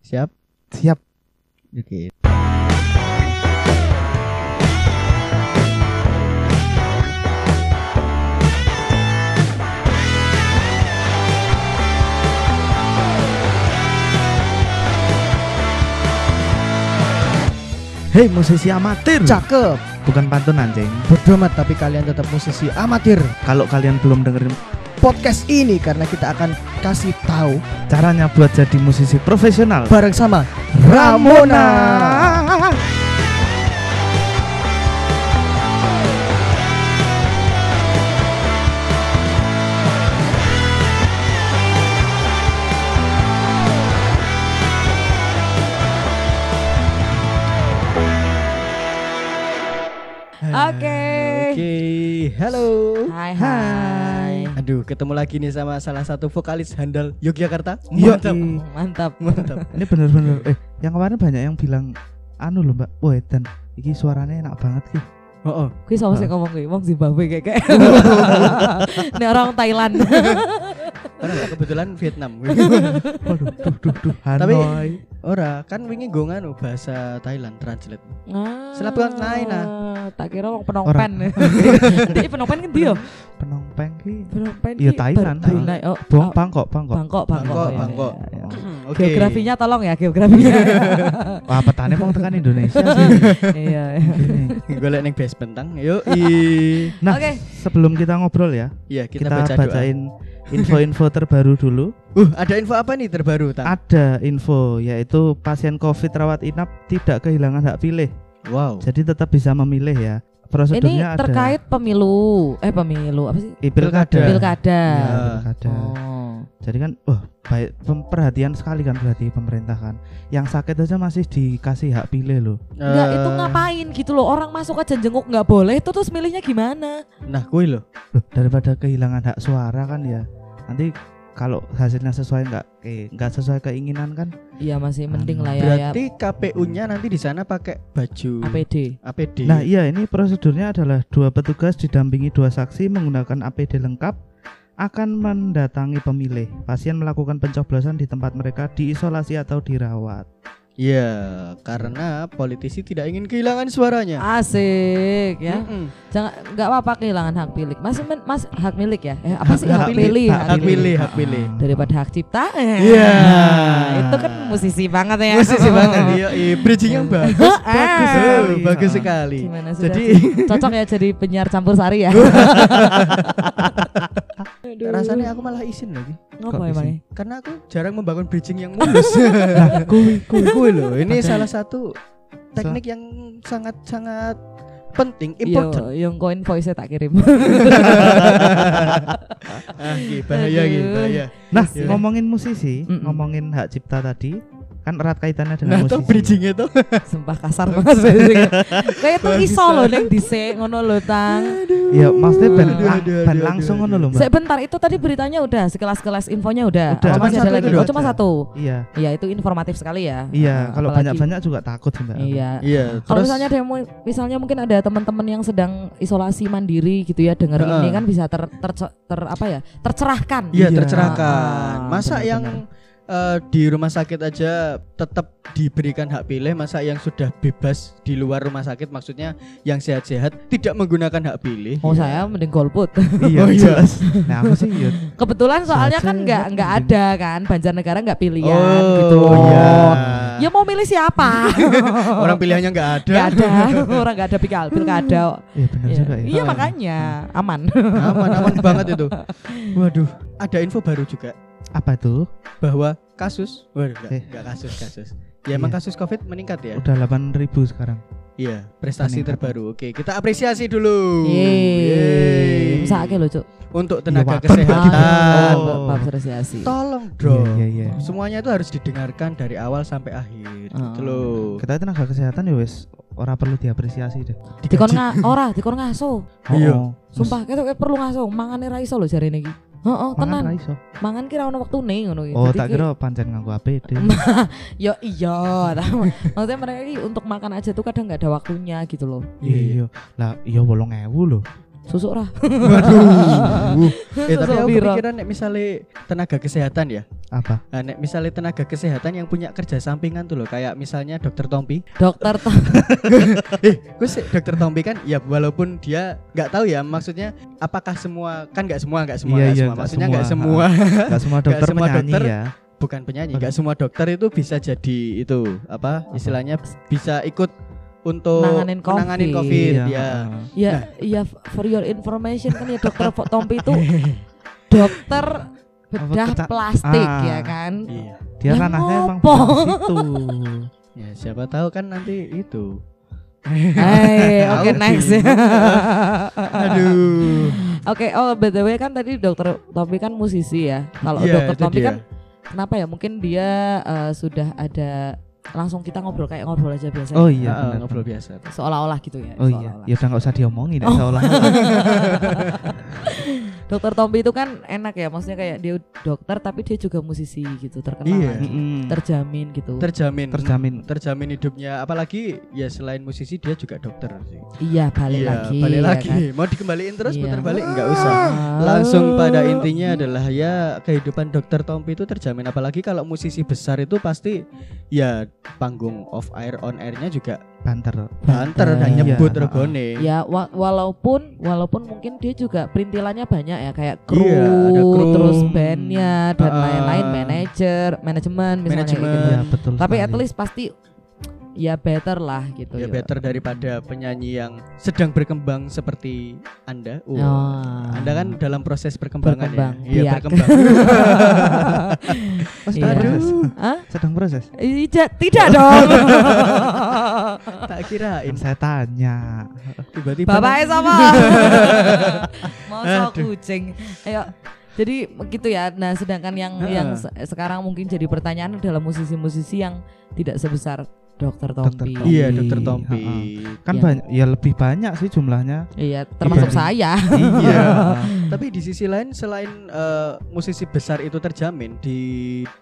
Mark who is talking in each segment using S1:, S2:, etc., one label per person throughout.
S1: Siap?
S2: Siap.
S1: Oke. Hei musisi amatir.
S2: Cakep.
S1: Bukan pantun anjing.
S2: Bodoh amat tapi kalian tetap musisi amatir.
S1: Kalau kalian belum dengerin
S2: Podcast ini karena kita akan kasih tahu
S1: caranya buat jadi musisi profesional.
S2: bareng sama Ramona.
S1: Ramona.
S3: Oke.
S2: Oke, halo.
S3: Hai, hai.
S2: Aduh, ketemu lagi nih sama salah satu vokalis handal Yogyakarta.
S1: Iya.
S2: Mantap.
S1: Hmm.
S3: Mantap.
S2: Mantap.
S1: Ini bener-bener eh yang kemarin banyak yang bilang anu loh Mbak, wah dan iki suaranya enak banget ki.
S2: Oh, oh.
S3: Kuwi sapa sing ngomong kuwi? Wong Zimbabwe kayak kayak. Nek orang Thailand.
S2: Karena kebetulan Vietnam.
S1: Waduh, duh duh duh Hanoi.
S2: Tapi- Ora, kan wingi go nganu bahasa Thailand translate.
S3: Ah,
S2: Selap kan lain, ah.
S3: Tak kira wong Phnom
S1: Orang.
S3: Penh. Jadi Phnom Penh ngendi yo?
S1: Penongpeng ki.
S3: Phnom Penh
S1: Iya,
S3: ki
S1: Thailand.
S3: Bar- Brunei. Oh,
S1: Bong
S3: oh,
S1: Bangkok, Bangkok.
S3: Bangkok,
S2: Bangkok,
S3: Bangkok. ya,
S2: Bangkok.
S3: ya, ya.
S2: Oke.
S3: Geografinya tolong ya, geografinya.
S1: Iya. Wah, petane mau tekan Indonesia sih.
S3: Iya. iya.
S1: Gini.
S2: Golek ning base bentang. Yo. i.
S1: Nah,
S3: Oke.
S1: sebelum kita ngobrol ya,
S2: Iya, kita,
S1: kita,
S2: baca doa.
S1: bacain info-info terbaru dulu.
S2: Uh, ada info apa nih terbaru, Tan?
S1: Ada info yaitu pasien Covid rawat inap tidak kehilangan hak pilih.
S2: Wow.
S1: Jadi tetap bisa memilih ya.
S3: Ini
S1: Prosedurnya ada
S3: terkait pemilu. Eh, pemilu apa sih?
S1: Eh, pilkada.
S2: Pilkada.
S3: Pilkada.
S1: Ya,
S2: Ya.
S1: pilkada.
S3: Oh.
S1: Jadi kan, wah, baik pem- perhatian sekali kan berarti pemerintah kan. Yang sakit aja masih dikasih hak pilih loh.
S3: Enggak,
S2: Eh,
S3: itu ngapain gitu loh. Orang masuk aja jenguk nggak boleh, itu terus milihnya gimana?
S2: Nah, kuwi lho.
S1: Loh, daripada kehilangan hak suara kan ya. Nanti kalau hasilnya sesuai nggak, eh, nggak sesuai keinginan kan?
S3: Iya, masih mending lah ya. ya.
S2: Berarti KPU-nya nanti di sana pakai baju
S3: APD.
S2: APD.
S1: Nah iya ini prosedurnya adalah dua petugas didampingi dua saksi menggunakan APD lengkap akan mendatangi pemilih. Pasien melakukan pencoblosan di tempat mereka diisolasi atau dirawat.
S2: Iya, karena politisi tidak ingin kehilangan suaranya.
S3: Ah, Asik ya.
S2: Mm-mm.
S3: Jangan nggak apa-apa kehilangan hak milik. Mas men- Mas hak milik ya. Eh apa sih
S2: Hak
S3: hak,
S2: pilih,
S3: pilih?
S2: hak pilih, Ah, hak pilih.
S3: daripada hak cipta. Eh,
S2: Iya.
S3: Itu kan musisi banget ya.
S2: Musisi banget iya, iya. Bridging-nya bagus.
S3: Ah.
S2: bagus sekali,
S1: Ah.
S2: bagus sekali.
S3: Gimana sudah
S2: Jadi
S3: cocok ya jadi penyiar campur sari ya. Aduh.
S2: rasanya aku malah izin lagi.
S3: Ngopo
S1: kok
S3: emangnya?
S2: Karena aku jarang membangun bridging yang mulus.
S1: Kui, kui.
S2: Kuy loh, ini salah satu teknik
S1: teknik
S2: yang sangat-sangat penting, important.
S3: Yo, yang koin voice tak kirim. Iya.
S2: Ah, iya, bahaya, iya,
S3: Aduh.
S2: bahaya.
S1: Nah
S2: Iya.
S1: ngomongin musisi,
S3: Mm-mm.
S1: ngomongin hak cipta tadi kan erat kaitannya
S2: Nah,
S1: dengan
S2: toh
S1: musisi.
S2: bridging itu.
S3: Sumpah kasar banget. Kayak itu iso loh neng dhisik ngono lho Tang.
S2: Iya,
S1: Ya maksudnya ben,
S3: Aduh,
S1: lang-
S2: aduh,
S1: ben
S2: aduh,
S1: langsung
S2: aduh,
S1: ngono loh mbak.
S3: Sebentar itu tadi beritanya udah sekelas-kelas infonya udah.
S1: Udah.
S3: Apa masih
S2: Cuma
S3: ada
S2: satu
S3: lagi?
S2: itu
S3: Oh
S2: aja.
S3: cuma satu.
S1: Iya,
S3: Iya itu informatif sekali ya.
S1: iya.
S3: Nah,
S1: Kalau
S3: apalagi-
S1: banyak-banyak juga takut sih mbak.
S3: Iya.
S2: Iya,
S3: Kalau
S2: terus
S3: misalnya ada yang mu- misalnya mungkin ada teman-teman yang sedang isolasi mandiri gitu ya dengar
S2: Heeh.
S3: ini kan bisa ter, ter, ter apa ya tercerahkan.
S2: Iya,
S1: Iya.
S2: tercerahkan.
S3: Ah,
S2: Masa
S1: benar-benar.
S2: yang eh, di rumah sakit aja tetap diberikan hak pilih, masa yang sudah bebas di luar rumah sakit maksudnya yang sehat-sehat tidak menggunakan hak pilih.
S3: Oh saya mending golput.
S1: Iya,
S2: Oh, iya.
S1: jelas. Nah aku sih ya
S3: Kebetulan soalnya kan
S1: Saja,
S3: nggak
S1: kan,
S3: nggak
S1: mending.
S3: ada kan Banjarnegara nggak pilihan
S2: Oh,
S3: gitu loh.
S2: iya.
S3: Ya mau milih siapa?
S2: Orang pilihannya nggak ada.
S3: Nggak ada orang nggak ada pikal pilkada.
S1: Iya benar
S3: Iya
S1: juga ya.
S3: Iya, makanya aman.
S2: Aman, aman banget itu. Waduh, ada info baru juga
S1: Apa tuh?
S2: bahwa kasus, waduh,
S1: Eh.
S2: nggak nggak kasus, kasus. Ya emang
S1: Iya.
S2: kasus COVID meningkat ya.
S1: Udah 8000 sekarang.
S2: Iya, prestasi
S1: Meningkat.
S2: terbaru. Oke, kita apresiasi dulu. Yeay.
S3: Yeay. Sakit loh cuk.
S2: Untuk tenaga
S1: Iya, wapen.
S2: kesehatan.
S1: Oh.
S3: Ah, Bab apresiasi.
S2: Tolong
S1: Iya
S2: dong.
S1: iya iya.
S2: Semuanya itu harus didengarkan dari awal sampai akhir.
S3: Ah.
S2: Gitu loh.
S1: Kita tenaga kesehatan ya wes ora perlu diapresiasi deh.
S3: Dikon nga, ora dikon ngaso.
S2: Iya.
S1: Oh, oh.
S3: Sumpah, kita perlu ngaso, mangane ra iso lho jarene iki. Heeh,
S1: Mangan
S3: tenan. Iya,
S1: ra iso.
S3: Mangan ki ra ono wektune ngono ki.
S1: Oh,
S3: Dadi
S1: tak
S3: ki-
S1: kira pancen nganggo APD.
S3: Ya iya, ta- maksudnya mereka ki untuk makan aja tuh kadang nggak ada waktunya gitu loh.
S1: Iya iya. Lah iya 8000 loh.
S3: Susuk ra.
S2: Waduh. eh, tapi
S3: Susuk
S2: aku
S3: piro?
S2: kepikiran nek misalnya tenaga kesehatan ya.
S1: apa
S2: Nah, nek misalnya tenaga kesehatan yang punya kerja sampingan tuh loh, kayak misalnya dokter Tompi.
S3: dokter toh
S2: eh, gue sih dokter Tompi kan, ya walaupun dia nggak tahu ya, maksudnya apakah semua kan nggak semua nggak semua
S1: Iya,
S2: nggak
S1: iya,
S2: semua,
S1: nggak
S2: maksudnya
S1: semua.
S2: nggak semua,
S1: Gak semua
S2: Gak
S1: dokter
S2: semua
S1: penyanyi
S2: dokter.
S1: ya
S2: bukan penyanyi,
S1: Oke.
S2: nggak semua dokter itu bisa jadi itu apa istilahnya bisa ikut untuk
S3: Nanganin COVID.
S2: menanganin COVID, ya.
S1: Iya, heeh.
S2: Nah.
S3: ya ya for your information kan ya dokter Fo- Tompi itu dokter bedah
S1: keta-
S3: plastik
S1: Ah.
S3: ya kan
S2: Iya.
S1: dia
S3: Lah
S1: ranahnya emang
S3: ngopo?
S1: bukan situ
S2: Ya, siapa tahu kan nanti itu.
S3: Hai,
S2: Tahu
S3: Eh, oke
S2: sih.
S3: next.
S2: Ah, Aduh.
S3: Oke, oh btw kan tadi dokter Tompi kan musisi ya. Kalau
S2: Iya,
S3: dokter
S2: itu
S3: Tompi
S2: dia.
S3: kan kenapa ya? Mungkin dia eh, sudah ada langsung kita ngobrol kayak ngobrol aja biasa.
S1: oh iya
S2: Ah,
S1: benar.
S2: ngobrol biasa.
S3: Seolah-olah gitu ya.
S1: oh iya
S3: seolah-olah.
S1: ya udah nggak usah diomongin ya
S3: Oh.
S1: seolah-olah
S3: Dokter Tompi itu kan enak ya, maksudnya kayak dia dokter tapi dia juga musisi gitu, terkenal
S2: Iya.
S3: lagi.
S1: Mm-mm.
S3: terjamin gitu.
S2: Terjamin.
S1: terjamin
S2: terjamin hidupnya apalagi ya selain musisi dia juga dokter sih.
S3: iya, balik
S2: Iya,
S3: lagi.
S2: balik
S3: ya
S2: lagi.
S3: kan?
S2: Mau dikembaliin terus
S3: Iya.
S2: putar balik nggak usah. Langsung pada intinya adalah ya kehidupan dokter Tompi itu terjamin apalagi kalau musisi besar itu pasti ya panggung off air on airnya juga
S1: banter
S2: banter dan
S1: Iya,
S2: nyebut
S1: ha-ha.
S2: regone.
S3: Ya wa- walaupun walaupun mungkin dia juga perintilannya banyak ya kayak kru,
S2: Iya, ada kru.
S3: terus bandnya dan
S2: Ah.
S3: lain-lain manajer manajemen misalnya kayak
S2: Manajemen.
S3: gitu.
S1: Iya betul
S3: Tapi at
S1: sekali.
S3: least pasti ya better lah gitu
S2: Ya better daripada penyanyi yang sedang berkembang seperti Anda. Oh.
S3: Ah.
S2: Anda kan dalam proses perkembangan
S3: Berkembang,
S2: ya. Iya,
S3: biak.
S2: berkembang.
S1: Oh, sedang
S3: Iya.
S1: proses
S3: Hah?
S1: sedang proses
S3: Ija- tidak dong.
S2: tak kirain
S1: Kan saya tanya
S2: tiba-tiba
S3: Bapaknya sama. Masa kucing. Ayo. Jadi gitu ya. Nah, sedangkan yang
S2: Heeh.
S3: yang se- sekarang mungkin jadi pertanyaan adalah musisi-musisi yang tidak sebesar Dokter
S1: Dr.
S3: Tompi.
S1: Tompi.
S2: Iya, dokter Tompi.
S1: Ha-ha. kan
S3: Iya.
S1: banyak ya lebih banyak sih jumlahnya
S3: Iya, termasuk
S1: Dibanding-
S3: saya.
S2: Iya. Tapi di sisi lain selain eh, musisi besar itu terjamin di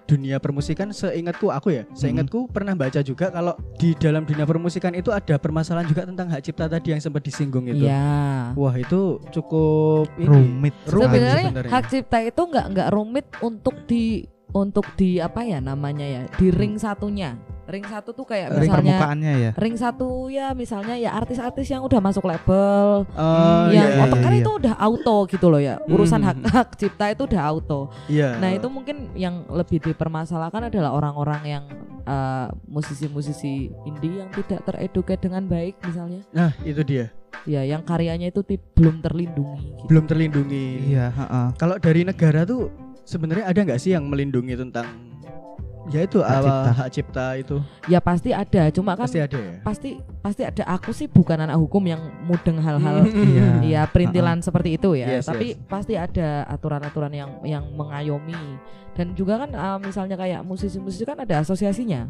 S2: dunia permusikan seingatku aku ya,
S1: Hmm.
S2: seingatku pernah baca juga kalau di dalam dunia permusikan itu ada permasalahan juga tentang hak cipta tadi yang sempat disinggung itu.
S3: Iya.
S2: Wah, itu cukup ini.
S1: rumit
S2: Rumit
S1: sekali.
S3: Sebenarnya
S2: sebenarnya.
S3: hak cipta itu nggak nggak rumit untuk di untuk di apa ya namanya ya di ring satunya. Ring satu tuh kayak
S2: Hmm. Ring
S1: ring
S3: misalnya
S1: permukaannya ya
S3: ring satu ya misalnya ya artis-artis yang udah masuk label
S2: Oh,
S3: yang
S2: iya,
S1: iya,
S3: otak- kan
S1: iya.
S3: itu udah auto gitu loh ya urusan
S2: Hmm.
S3: hak hak cipta itu udah auto
S2: iya.
S3: nah itu mungkin yang lebih dipermasalahkan adalah orang-orang yang eh, musisi-musisi indie yang tidak tereduket dengan baik misalnya
S2: Nah, itu dia.
S3: ya yang karyanya itu ti- belum terlindungi gitu.
S2: Belum terlindungi.
S1: iya ha-ha.
S2: Kalau dari negara tuh sebenarnya ada nggak sih yang melindungi tentang ya itu apa,
S1: Hak cipta.
S2: hak cipta itu?
S3: ya pasti ada cuma kan
S2: Pasti
S3: pasti
S2: ada ya.
S3: pasti, ada aku sih bukan anak hukum yang mudeng hal-hal
S1: iya
S3: ya perintilan seperti itu ya
S2: Hmm. Yes,
S3: tapi pasti ada aturan-aturan yang yang mengayomi dan juga kan eh, misalnya kayak musisi-musisi kan ada asosiasinya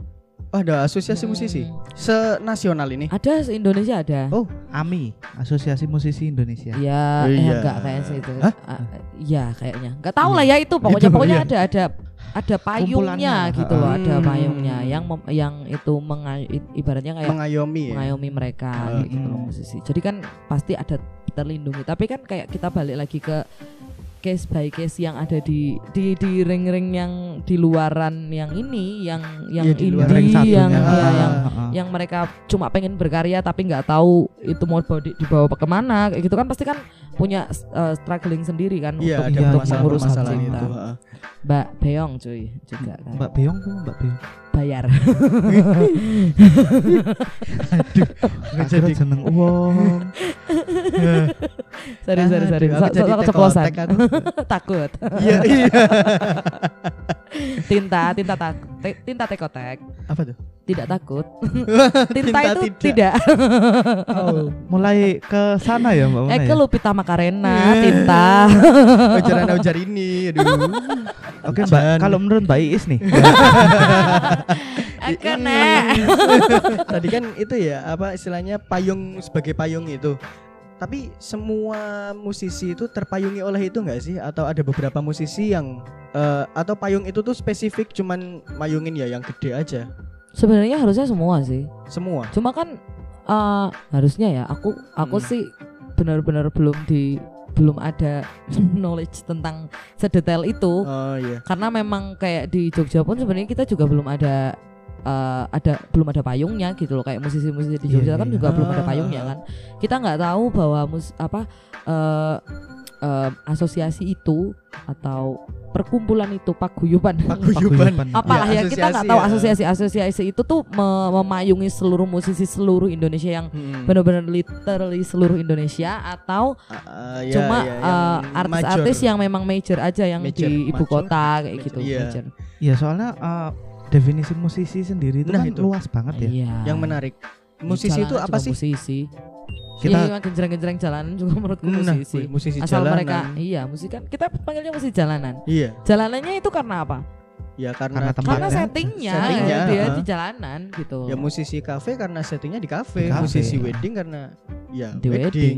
S2: Oh, ada asosiasi musisi
S3: Hmm.
S2: senasional ini.
S3: Ada se- Indonesia ada.
S1: Oh, AMI, Asosiasi Musisi Indonesia.
S2: Oh,
S3: Iya, eh,
S2: iya.
S3: enggak kayak itu.
S2: Hah? Hmm.
S3: Ah, Iya, kayaknya. Enggak tahu lah ya itu pokoknya
S2: Itu,
S3: pokoknya
S2: iya.
S3: ada ada ada payungnya
S1: Kumpulannya.
S3: gitu loh, ada
S2: Hmm.
S3: payungnya yang mem- yang itu menga- i- ibaratnya kayak
S2: Mengayomi. ya?
S3: mengayomi mereka
S2: Ah,
S3: kayak gitu loh
S1: mm.
S3: musisi. Jadi kan pasti ada terlindungi, tapi kan kayak kita balik lagi ke case by case yang ada di di di ring-ring yang di luaran yang ini yang yang
S2: Iya, di
S3: indie
S2: luar
S1: ring satunya.
S3: yang
S2: Ah.
S3: ya, yang
S1: Ha-ha.
S3: yang mereka cuma pengen berkarya tapi nggak tahu itu mau bawa- di- dibawa ke- kemana kayak gitu kan pasti kan punya uh, struggling sendiri kan
S2: Iya, ada
S3: untuk
S1: iya,
S3: untuk
S1: masalah-
S3: mengurus hak
S2: permasalahan
S3: cipta.
S2: itu. heeh.
S3: Mbak Beong cuy juga kan
S1: Mbak Beong tuh, Mbak Beong.
S3: bayar.
S2: Aku
S1: Akhirnya
S2: jadi-
S1: jeneng Wong.
S3: sorry sorry sorry.
S2: Nah, Aduh, Kan
S3: So,
S2: aku jadi
S3: so- keceplosan.
S2: tekotek aku.
S3: takut.
S2: Iya, iya.
S3: Tinta, tinta tak ti- tinta tekotek.
S2: Apa tuh?
S3: Tidak takut.
S2: Tinta
S3: Tinta, itu
S2: tidak.
S3: tidak.
S2: Oh,
S1: Mulai ke sana ya, Mbak.
S3: Eh
S1: Mona
S3: ke
S1: ya?
S3: Lupita Makarena, tinta.
S2: ujaran-ujaran ini. Iya, Aduh.
S1: Oke, Mbak.
S2: Hujan.
S1: Kalau menurut Mbak Iis nih,
S2: Iya.
S3: Eh, Kena.
S2: Tadi kan itu ya, apa istilahnya payung sebagai payung itu. Tapi semua musisi itu terpayungi oleh itu enggak sih? Atau ada beberapa musisi yang eh, atau payung itu tuh spesifik cuman mayungin ya yang gede aja.
S3: Sebenarnya harusnya semua sih.
S2: Semua.
S3: Cuma kan eh, harusnya ya aku aku
S2: Hmm.
S3: sih benar-benar belum di belum ada knowledge tentang sedetail itu
S2: Oh iya.
S3: karena memang kayak di Jogja pun sebenarnya kita juga belum ada eh, ada belum ada payungnya gitu loh kayak musisi-musisi di
S1: Iya,
S3: Jogja kan
S1: iya.
S3: juga belum ada
S2: Ah.
S3: payungnya kan kita nggak tahu bahwa mus apa eh, eh, asosiasi itu atau perkumpulan itu paguyuban
S2: Paguyuban.
S1: Apa?
S3: apalah
S2: Ya,
S3: ya, kita nggak
S2: asosiasi
S3: tahu
S2: ya.
S3: asosiasi-asosiasi itu tuh me- memayungi seluruh musisi seluruh Indonesia yang
S2: Hmm.
S3: benar-benar literally seluruh Indonesia atau
S2: Ah, ah, iya,
S3: cuma
S2: iya,
S3: eh,
S2: yang
S3: artis-artis
S2: major.
S3: yang memang major aja yang
S2: Major,
S3: di ibu
S2: major,
S3: kota kayak
S2: major,
S3: gitu
S2: iya.
S3: major.
S1: Ya soalnya eh, definisi musisi sendiri itu
S2: Nah,
S1: kan
S2: itu.
S1: luas banget ya.
S3: Iya.
S2: yang menarik. Musisi itu apa sih?
S3: Musisi. Kita
S1: Kita-
S3: genjreng-genjreng jalanan juga menurutku
S2: Nah,
S3: musisi.
S2: musisi
S3: Asal
S2: jalanan.
S3: mereka iya musik kan kita panggilnya musik jalanan.
S2: Iya,
S3: Jalanannya itu karena apa?
S2: ya karena,
S1: Karena tempat.
S3: Karena
S1: Tempatnya.
S3: settingnya,
S2: Settingnya,
S3: dia
S2: heeh.
S3: di jalanan gitu.
S2: ya musisi kafe karena settingnya di
S1: Di
S2: kafe,
S1: kafe.
S2: musisi wedding karena ya
S3: di wedding.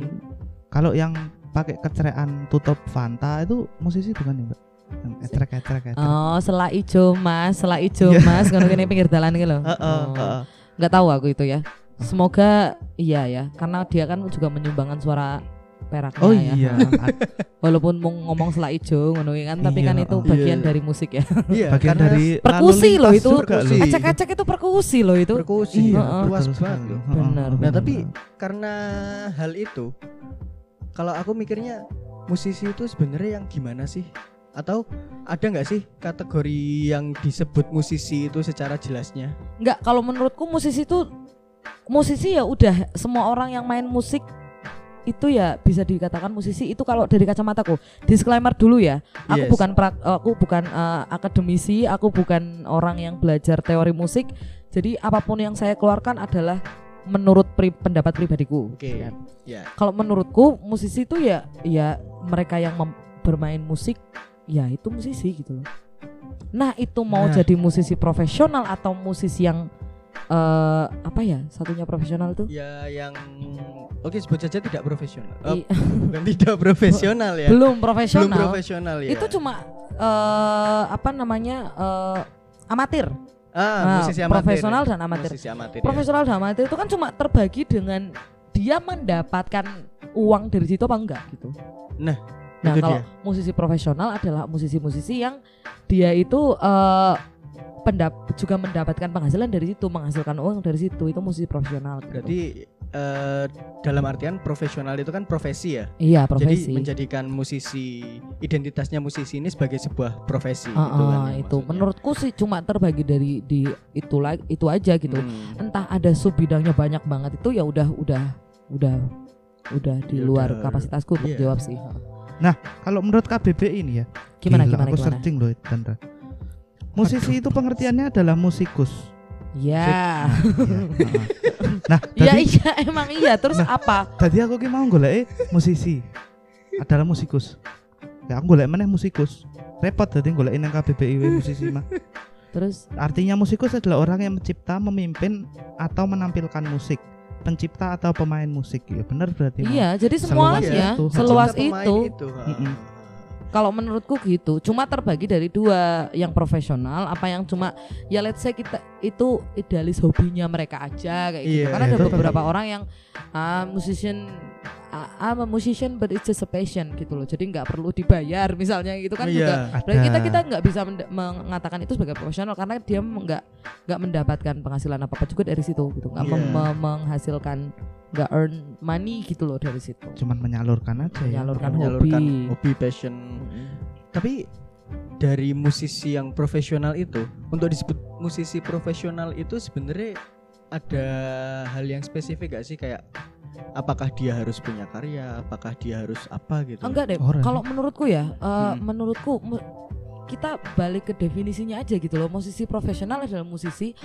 S1: Kalau yang pakai kecerean tutup Fanta itu musisi bukan ya, Mbak? Yang etrek etrek etrek.
S3: Oh, selai ijo mas, selai ijo
S1: Iya.
S3: mas, ngono kene pinggir dalan gitu loh.
S2: Heeh,
S3: Oh.
S2: heeh.
S3: nggak tahu aku itu ya. Semoga iya ya, karena dia kan juga menyumbangkan suara peraknya
S1: oh
S3: ya.
S1: iya.
S3: Walaupun mau ngomong selai ijo ngono ya kan, tapi
S1: Iya,
S3: kan itu
S1: oh.
S3: bagian
S2: Iya.
S3: dari musik ya.
S2: Iya,
S1: Bagian
S2: karena
S1: dari lalu
S3: Perkusi loh
S1: lintas
S3: itu.
S1: juga loh.
S2: Perkusi.
S3: Acak-acak itu perkusi loh itu.
S2: perkusi
S1: Iya,
S3: Heeh.
S2: luas
S1: betul
S2: banget.
S1: sekali.
S2: loh.
S1: Heeh, heeh,
S3: Benar,
S2: Nah,
S3: benar.
S2: tapi karena hal itu kalau aku mikirnya musisi itu sebenarnya yang gimana sih? Atau ada nggak sih kategori yang disebut musisi itu secara jelasnya?
S3: Enggak, kalau menurutku musisi itu musisi ya udah semua orang yang main musik itu ya bisa dikatakan musisi itu kalau dari kacamataku. Disclaimer dulu ya. Aku
S2: Yes.
S3: bukan prak- aku bukan eh, akademisi, aku bukan orang yang belajar teori musik. Jadi apapun yang saya keluarkan adalah menurut pri- pendapat pribadiku.
S2: Oke.
S3: Ya.
S2: Ya.
S3: Kalau menurutku musisi itu ya ya mereka yang mem- bermain musik ya itu musisi gitu loh. Nah, itu mau
S2: Nah.
S3: jadi musisi profesional atau musisi yang eh apa ya? Satunya profesional tuh?
S2: Ya yang oke sebut saja tidak profesional. Eh,
S3: I-
S2: bukan tidak profesional ya. Belum
S3: belum profesional.
S2: profesional ya.
S3: Itu cuma eh apa namanya? eh amatir.
S2: ah,
S3: ah,
S2: musisi amatir.
S3: profesional dan amatir.
S2: Musisi amatir. ya.
S3: Profesional dan amatir itu kan cuma terbagi dengan dia mendapatkan uang dari situ apa enggak gitu.
S2: Nah,
S3: Nah,
S2: itu
S3: kalau
S2: dia.
S3: musisi profesional adalah musisi-musisi yang dia itu eh pendap juga mendapatkan penghasilan dari situ, menghasilkan uang dari situ. Itu musisi profesional. gitu.
S2: Berarti eh, dalam artian profesional itu kan profesi ya.
S3: iya,
S2: Jadi
S3: profesi.
S2: menjadikan musisi identitasnya musisi ini sebagai sebuah profesi
S3: Ah,
S2: gitu kan
S3: ah,
S2: ya
S3: itu
S2: maksudnya.
S3: menurutku sih cuma terbagi dari di itulah itu aja gitu.
S2: Hmm.
S3: Entah ada sub bidangnya banyak banget itu ya udah udah udah udah di
S2: Ya
S3: luar
S2: udah,
S3: kapasitasku untuk
S2: iya.
S3: jawab sih. Ha.
S1: Kalau menurut KBBI ini ya.
S3: Gimana
S1: gila,
S3: gimana
S1: aku
S3: gimana?
S1: searching loh Chandra. Musisi itu pengertiannya adalah musikus.
S3: Ya.
S1: Iya, heeh. Nah,
S3: Ya
S1: tadi Nah.
S3: iya emang iya terus apa?
S1: tadi aku ki mau golek musisi adalah musikus. Ya aku golek meneh musikus. Repot tadi golek nang KBBI we musisi mah.
S3: Terus
S1: Artinya musikus adalah orang yang mencipta, memimpin atau menampilkan musik. Pencipta atau pemain musik. Ya benar berarti. Mas.
S3: iya jadi
S1: Seluas
S3: semuanya
S1: itu.
S3: seluas
S2: Pencipta pemain
S3: itu.
S1: gitu.
S2: ha.
S1: Mm-mm.
S3: Kalau menurutku gitu, cuma terbagi dari dua, yang profesional apa yang cuma ya let's say kita itu idealis hobinya mereka aja kayak gitu.
S2: Iya,
S3: Karena ada
S1: betul.
S3: beberapa orang yang ah musician ah, I'm a musician but it's just a passion gitu loh. Jadi nggak perlu dibayar misalnya gitu kan
S2: Iya.
S3: juga. Berarti
S1: Ada.
S3: kita kita nggak bisa mend- mengatakan itu sebagai profesional karena dia m- nggak nggak mendapatkan penghasilan apa apa juga dari situ gitu. Nggak
S2: Iya.
S3: mem- me- menghasilkan nggak earn money gitu loh dari situ.
S1: cuman menyalurkan aja ya.
S3: Menyalurkan
S1: Oh.
S3: hobi.
S2: menyalurkan hobi passion. Tapi dari musisi yang profesional itu untuk disebut musisi profesional itu sebenarnya ada hal yang spesifik gak sih kayak apakah dia harus punya karya, apakah dia harus apa gitu.
S3: Enggak deh.
S1: Orang.
S3: Kalau menurutku ya, eh,
S2: Mm-mm.
S3: menurutku mu- kita balik ke definisinya aja gitu loh. Musisi profesional adalah musisi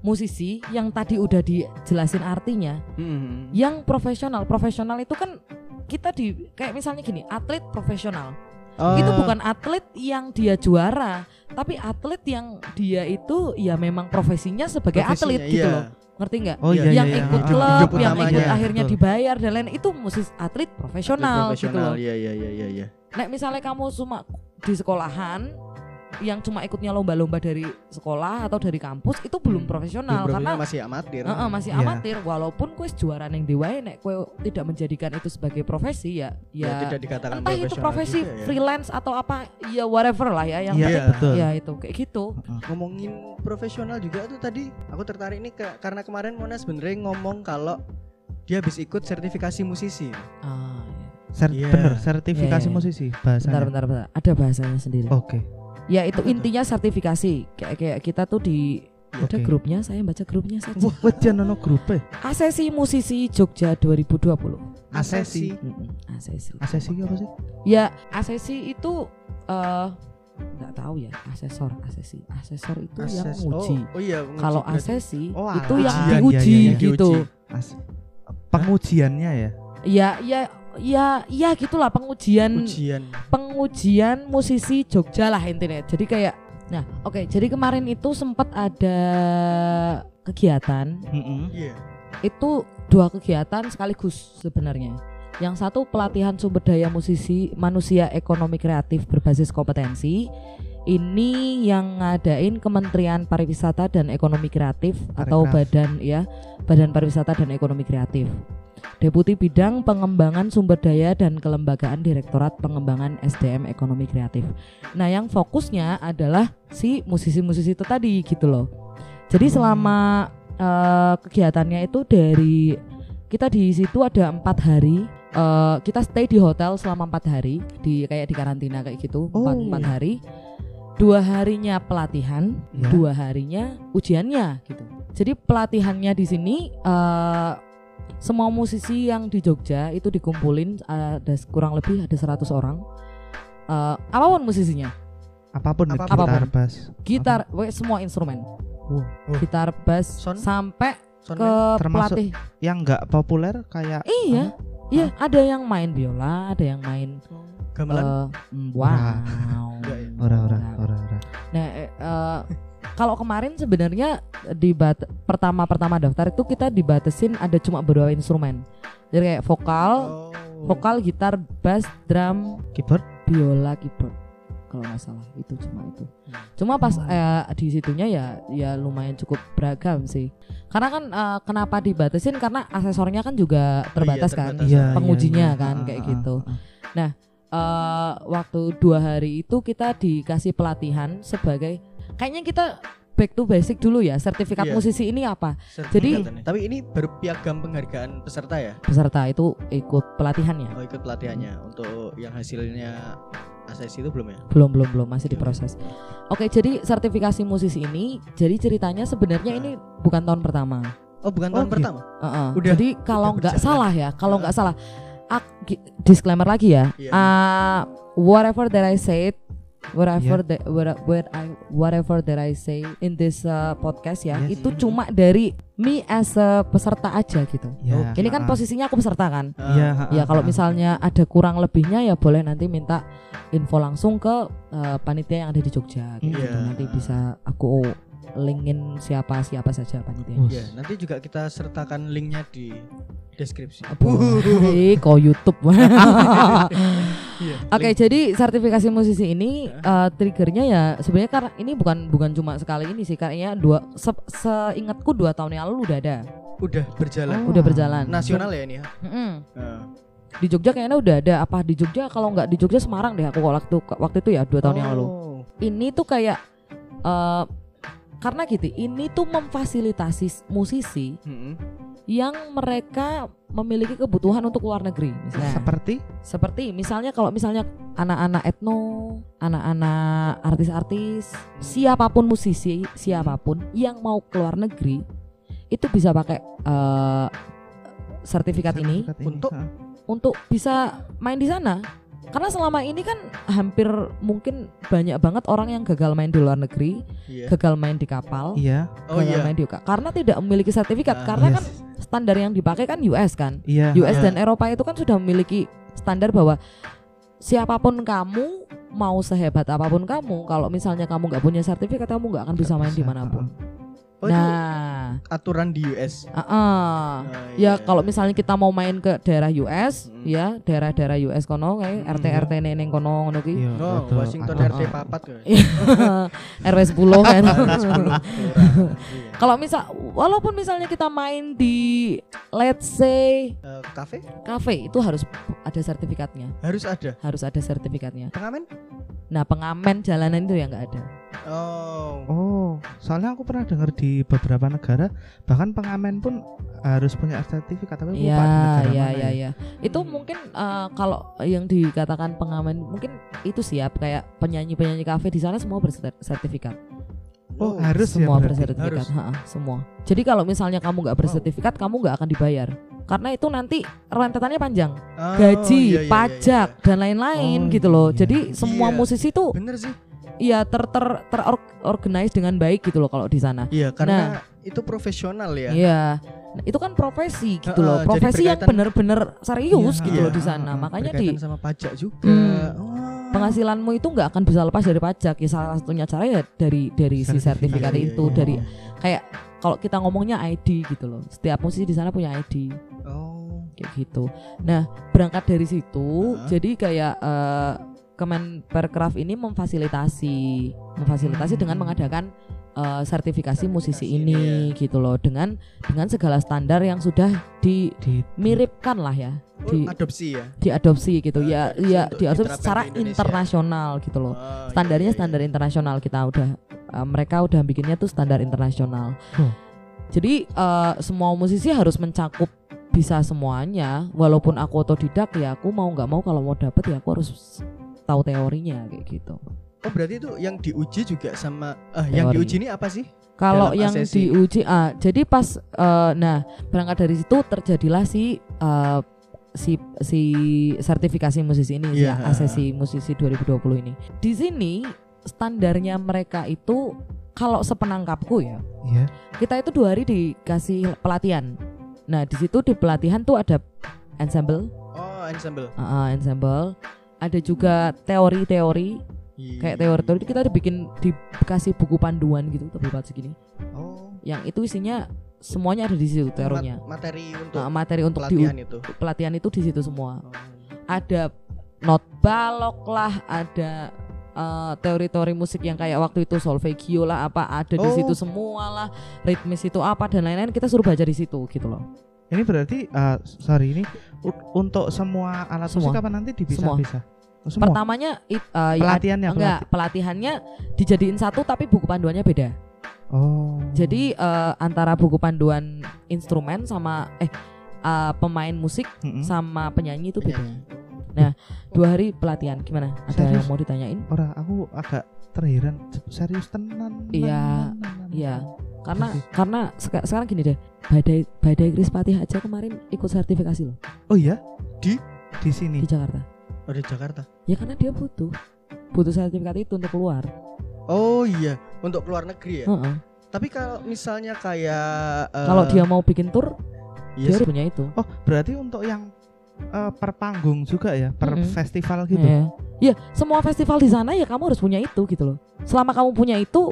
S3: musisi yang tadi udah dijelasin artinya.
S2: Mm-mm.
S3: Yang profesional, profesional itu kan kita di kayak misalnya gini, atlet profesional.
S2: Oh,
S3: Itu bukan atlet yang dia juara, tapi atlet yang dia itu ya memang profesinya sebagai
S2: profesinya,
S3: atlet gitu
S2: iya.
S3: loh. Ngerti nggak?
S1: Oh iya,
S3: yang
S1: iya, iya.
S3: ikut
S1: Ah,
S3: klub,
S2: hidup
S3: yang ikut
S2: utamanya.
S3: akhirnya
S1: Betul.
S3: dibayar dan lain itu musisi atlet profesional, gitu
S2: profesional.
S3: loh.
S2: Iya iya iya iya iya.
S3: Nek misalnya kamu cuma di sekolahan yang cuma ikutnya lomba-lomba dari sekolah atau dari kampus itu belum
S2: Hmm.
S3: profesional
S2: Belum
S3: karena
S2: profesional, masih amatir.
S3: Heeh, masih
S1: Iya.
S3: amatir walaupun kuis juara yang dewae nek kue tidak menjadikan itu sebagai profesi ya
S2: Ya,
S3: ya
S2: tidak dikatakan
S3: entah itu
S2: profesional
S3: profesi
S2: juga ya.
S3: freelance atau apa ya whatever lah ya yang
S1: Iya,
S2: Iya.
S1: betul.
S3: ya itu kayak gitu
S2: ngomongin profesional juga tuh tadi aku tertarik nih ke- karena kemarin Mona sebenarnya ngomong kalau dia habis ikut sertifikasi musisi.
S3: ah, ya.
S1: Ser-
S2: Iya.
S1: bener, sertifikasi
S3: Iya, iya.
S1: musisi bahasanya.
S3: bentar, bentar bentar ada bahasanya sendiri
S1: Oke.
S3: ya itu
S2: Apa tuh?
S3: intinya sertifikasi kayak kayak kita tuh di ada
S1: Oke.
S3: grupnya saya baca grupnya saja
S1: Wah, wajan ono grupe.
S3: Asesi Musisi Jogja 2020
S1: Asesi.
S3: Mm-mm, Asesi
S1: Asesi ki apa sih?
S3: Ya, asesi itu eh nggak tahu ya, asesor, asesi. Asesor itu yang
S2: Ases-
S3: nguji.
S2: Oh, oh iya, nguji
S3: Kalau
S2: berarti.
S3: asesi
S1: Oh,
S3: itu
S1: alah.
S3: yang
S1: Ujian,
S3: diuji
S1: iya, iya, iya.
S3: gitu.
S1: As- pengujiannya ya.
S3: Ya, ya, ya, ya gitulah pengujian
S2: ujian.
S3: pengujian musisi Jogja lah intinya. Jadi kayak nah, oke, jadi kemarin itu sempat ada kegiatan
S1: Heeh.
S2: Iya.
S3: itu dua kegiatan sekaligus sebenarnya. Yang satu pelatihan sumber daya musisi manusia ekonomi kreatif berbasis kompetensi. Ini yang ngadain Kementerian Pariwisata dan Ekonomi Kreatif atau
S1: Parikraf.
S3: Badan ya, Badan Pariwisata dan Ekonomi Kreatif. Deputi Bidang Pengembangan Sumber Daya dan Kelembagaan Direktorat Pengembangan SDM Ekonomi Kreatif. Nah, yang fokusnya adalah si musisi-musisi itu tadi gitu loh. Jadi selama eh, kegiatannya itu dari kita di situ ada empat hari. eh, kita stay di hotel selama empat hari di kayak di karantina kayak gitu empat
S1: Oh.
S3: empat hari. Dua harinya pelatihan,
S1: Ya.
S3: dua harinya ujiannya gitu. Jadi pelatihannya di sini eh, semua musisi yang di Jogja itu dikumpulin ada kurang lebih ada 100 orang. Eh, apapun musisinya,
S1: Apapun,
S2: Apapun.
S1: gitar,
S3: Apapun.
S1: bass.
S3: gitar, we- semua instrumen.
S1: Wow.
S3: Gitar, bass,
S2: Sound?
S3: sampai ke
S2: Soundman.
S1: Termasuk-
S3: pelatih.
S1: Yang nggak populer kayak
S3: Iya, iya ada yang main biola, ada yang main
S2: gamelan.
S3: eh, mm, wow.
S2: Enggak ya?
S1: ora-ora,
S3: Nah,
S1: ora-ora.
S3: Nah, eh, eh, kalau kemarin sebenarnya di bat- pertama-pertama daftar itu kita dibatesin ada cuma beberapa instrumen. Jadi kayak vokal,
S2: Oh.
S3: vokal, gitar, bass, drum,
S1: Keyboard
S3: biola, keyboard. Kalau nggak salah itu cuma itu. Cuma pas
S1: Hmm.
S3: eh, di situnya ya ya lumayan cukup beragam sih. Karena kan eh, kenapa dibatasin karena aksesornya kan juga terbatas kan.
S2: terbatas.
S1: Oh, Iya, iya,
S3: pengujinya
S1: iya.
S3: kan,
S1: Ah,
S3: kayak
S1: ah,
S3: gitu.
S1: ah, ah.
S3: eh waktu dua hari itu kita dikasih pelatihan sebagai kayaknya kita back to basic dulu ya sertifikat
S2: Iya.
S3: musisi ini apa
S2: Sertifikat
S3: jadi-
S2: katanya. tapi ini baru piagam penghargaan peserta ya?
S3: peserta itu ikut pelatihannya
S2: Oh, ikut pelatihannya untuk yang hasilnya asesi itu belum ya?
S3: belum belum belum masih
S2: Oke.
S3: diproses oke jadi sertifikasi musisi ini jadi ceritanya sebenarnya ini bukan tahun pertama
S2: Oh, bukan tahun
S1: Oh,
S3: iya.
S1: gitu.
S2: pertama.
S3: Heeh.
S2: Udah-
S3: jadi kalau
S2: udah
S3: nggak
S2: berjalan.
S3: salah ya kalau
S2: Heeh.
S3: nggak salah ak- gi- disclaimer lagi ya
S2: Iya.
S3: Ah, whatever that I said whatever
S2: Iya.
S3: that where, where I whatever that I say in this uh, podcast ya
S1: Yes.
S3: itu
S2: Mm-hmm.
S3: cuma dari me as a peserta aja gitu
S1: Ya,
S2: Oke.
S3: ini kan
S1: ah, ah.
S3: posisinya aku peserta kan
S2: Ah,
S1: Iya, ah,
S3: ya
S1: ah,
S3: kalau
S1: ah.
S3: misalnya ada kurang lebihnya ya boleh nanti minta info langsung ke eh, panitia yang ada di Jogja gitu.
S2: Iya.
S3: nanti bisa aku linkin siapa siapa saja panitia
S1: Wus.
S2: Iya, nanti juga kita sertakan linknya di deskripsi.
S3: Ah, Boleh, kok YouTube.
S2: Iya,
S3: Oke,
S2: link.
S3: jadi sertifikasi musisi ini eh, triggernya ya sebenarnya karena ini bukan bukan cuma sekali ini sih, kayaknya dua se seingatku dua tahun yang lalu udah ada,
S2: udah berjalan.
S1: Oh.
S3: udah
S1: Wah.
S3: berjalan.
S2: Hmm. Nasional ya ini ya.
S3: Mm-mm.
S2: Ah.
S3: Di Jogja kayaknya udah ada. Apa di Jogja? Kalau nggak di Jogja Semarang deh aku waktu waktu itu ya dua tahun yang lalu.
S2: Oh.
S3: Ini tuh kayak eh, karena gitu, ini tuh memfasilitasi s- musisi
S2: Mm-mm.
S3: yang mereka memiliki kebutuhan untuk luar negeri. Misalnya.
S1: Seperti
S3: Seperti misalnya kalau misalnya anak-anak etno, anak-anak artis-artis, siapapun musisi, siapapun yang mau ke luar negeri itu bisa pakai eh, sertifikat ini
S2: untuk-
S1: ah.
S3: untuk bisa main di sana. Karena selama ini kan hampir mungkin banyak banget orang yang gagal main di luar negeri,
S2: Iya.
S3: gagal main di kapal,
S1: Iya,
S2: Oh
S3: gagal
S2: iya.
S3: main di karena tidak memiliki
S2: Ah,
S3: sertifikat. karena
S1: yes.
S3: kan standar yang dipakai kan US kan.
S1: iya.
S3: US
S2: Ya.
S3: dan Eropa itu kan sudah memiliki standar bahwa siapapun kamu mau sehebat
S1: Ah,
S3: apapun kamu kalau misalnya kamu nggak punya sertifikat kamu nggak akan bisa main dimanapun.
S2: Oh, itu
S3: nah sana.
S2: aturan di US.
S3: Ah, ah.
S2: Nah, iya.
S3: Ya kalau misalnya kita mau main ke daerah US,
S2: Mm.
S3: ya daerah-daerah US kono kayak
S2: Mm,
S3: RT RT neneng kono ngono ki.
S1: Iya,
S2: Oh,
S1: betul.
S2: Washington
S1: Ah, ah.
S2: RT papat kok. Iya.
S3: RW 10 kan.
S2: Kelurahan, iya.
S3: kalau misal walaupun misalnya kita main di let's say
S2: Eh, Kafe
S3: cafe itu harus ada sertifikatnya,
S2: harus ada
S3: harus ada sertifikatnya.
S2: pengamen.
S3: Nah, pengamen jalanan itu yang enggak ada.
S2: Oh,
S1: Oh, soalnya aku pernah dengar di beberapa negara bahkan pengamen pun harus punya sertifikat tapi aku lupa di
S3: Ya,
S1: negara
S3: ya,
S1: mana
S3: ya, ya. Itu
S2: Hmm.
S3: mungkin eh, kalau yang dikatakan pengamen mungkin itu siap kayak penyanyi-penyanyi kafe di sana semua bersertifikat.
S1: Oh, harus ya
S3: semua
S1: berarti.
S3: bersertifikat,
S2: Harus.
S3: ha-ha, semua. Jadi kalau misalnya kamu nggak bersertifikat, kamu nggak akan dibayar. Karena itu nanti rentetannya panjang,
S2: Oh, iya, iya,
S3: gaji,
S2: iya,
S3: pajak dan lain-lain
S1: Oh,
S3: gitu loh.
S1: iya.
S3: Jadi semua
S2: Iya.
S3: musisi
S2: iya.
S3: tuh
S2: Bener sih.
S3: ya ter ter terorganize dengan baik gitu loh kalau di sana.
S2: Iya, karena itu profesional ya.
S3: Nah. Iya. Nah, itu kan profesi gitu
S2: Heeh,
S3: loh,
S2: jadi
S3: profesi yang
S2: berkaitan-
S3: bener-bener serius
S1: Iya,
S3: gitu loh
S1: iya,
S3: di sana.
S1: heeh,
S3: Makanya di
S2: Berkaitan sama pajak juga.
S3: Hmm.
S2: Oh.
S3: penghasilanmu itu nggak akan bisa lepas dari pajak. Ya salah satunya cara ya dari dari si sertifikat
S1: Sertifikat,
S2: iya,
S3: itu
S2: iya.
S3: dari kayak kalau kita ngomongnya ID gitu loh. Setiap musisi di sana punya ID
S2: Oh.
S3: kayak gitu. Nah, berangkat dari situ
S2: Hah?
S3: jadi kayak eh, Kemenperkraf ini memfasilitasi memfasilitasi
S1: Hmm.
S3: dengan mengadakan eh, sertifikasi musisi
S2: Sertifikasi
S3: ini gitu loh dengan dengan segala standar yang sudah di
S1: Di
S3: miripkan lah ya
S2: Oh,
S3: Di-
S2: adopsi ya.
S3: diadopsi gitu
S2: Eh,
S3: ya
S2: adopsi
S3: ya
S2: untuk
S3: diadopsi
S2: diterapkan
S3: secara
S2: di Indonesia.
S3: internasional gitu loh
S2: Oh,
S3: standarnya
S2: iya, iya,
S3: standar
S2: iya.
S3: internasional kita udah eh, mereka udah bikinnya tuh standar internasional
S1: Hmm.
S3: jadi eh, semua musisi harus mencakup bisa semuanya walaupun aku otodidak ya aku mau nggak mau kalau mau dapet ya aku harus tahu teorinya kayak gitu
S2: Oh, berarti itu yang diuji juga sama eh,
S3: Teori.
S2: yang diuji ini apa sih?
S3: Kalau
S2: Dalam
S3: yang
S2: asesi.
S3: diuji, ah, jadi pas, eh, nah berangkat dari situ terjadilah si eh, si si sertifikasi musisi ini,
S2: Iya.
S3: ya asesi musisi 2020 ini. Di sini standarnya mereka itu kalau sepenangkapku ya,
S1: Iya.
S3: kita itu dua hari dikasih pelatihan. Nah di situ di pelatihan tuh ada ensemble,
S2: Oh, ensemble.
S3: ah, ah, ensemble, ada juga teori-teori,
S2: Iya.
S3: kayak teori-teori kita dibikin dikasih buku panduan gitu tebal banget segini
S2: Oh,
S3: yang itu isinya semuanya ada di situ teorinya.
S2: mat- materi untuk
S3: Nah, materi untuk di
S2: pelatihan itu.
S3: pelatihan itu di situ semua.
S2: Oh.
S3: Ada not balok lah, ada eh, teori-teori musik yang kayak waktu itu solfeggio lah apa ada di
S2: Oh.
S3: situ semua lah, ritmis itu apa dan lain-lain kita suruh baca di situ gitu loh.
S1: Ini berarti eh, sorry ini u- untuk semua alat
S3: Semua.
S1: musik apa nanti dipisah-pisah? Oh, Semua.
S3: Pertamanya it, eh, ya,
S1: pelatihannya
S3: enggak
S1: pelati-
S3: pelatihannya dijadiin satu tapi buku panduannya beda.
S1: Oh.
S3: Jadi eh, antara buku panduan instrumen sama eh eh, pemain musik
S1: Mm-mm.
S3: sama penyanyi itu beda. Nah,
S2: Penyanyi.
S3: dua hari pelatihan gimana ada
S1: Serius?
S3: yang mau ditanyain
S1: Ora aku agak terheran serius tenan. tenan,
S3: Iya,
S1: tenan,
S3: iya.
S1: tenan.
S3: karena
S1: Oke.
S3: karena seka- sekarang gini deh badai badai Kris Patih aja kemarin ikut sertifikasi loh
S1: Oh iya
S2: Di?
S1: di sini.
S3: di Jakarta
S2: Oh, di Jakarta.
S3: ya karena dia butuh butuh sertifikat itu untuk keluar
S2: Oh iya, untuk luar negeri ya.
S3: Heeh.
S2: Tapi kalau misalnya kayak eh,
S3: kalau dia mau bikin tour
S2: iya sih.
S3: dia harus punya itu
S1: Oh berarti untuk yang eh, per panggung juga ya per
S3: Mm-mm.
S1: festival gitu.
S3: ya. ya semua festival di sana ya kamu harus punya itu gitu loh selama kamu punya itu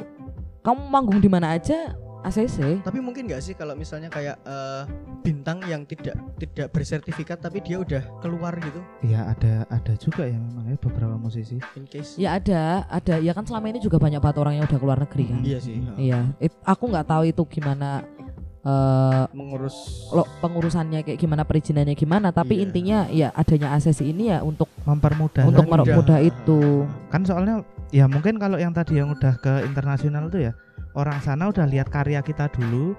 S3: kamu manggung di mana aja ACC
S2: tapi mungkin nggak sih kalau misalnya kayak eh, bintang yang tidak tidak bersertifikat tapi dia udah keluar gitu
S1: Iya ada ada juga ya memang ya beberapa musisi.
S2: in case.
S3: ya ada ada ya kan selama ini juga banyak banget orang yang udah keluar negeri kan
S2: Iya sih. eh,
S3: iya It- aku nggak tahu itu gimana eh
S2: Mengurus
S3: lo pengurusannya kayak gimana perizinannya gimana tapi
S2: Iya.
S3: intinya ya adanya ACC ini ya untuk
S1: Mempermudah.
S3: untuk
S2: Mudah.
S3: mempermudah itu
S1: kan soalnya ya mungkin kalau yang tadi yang udah ke internasional tuh ya orang sana udah lihat karya kita dulu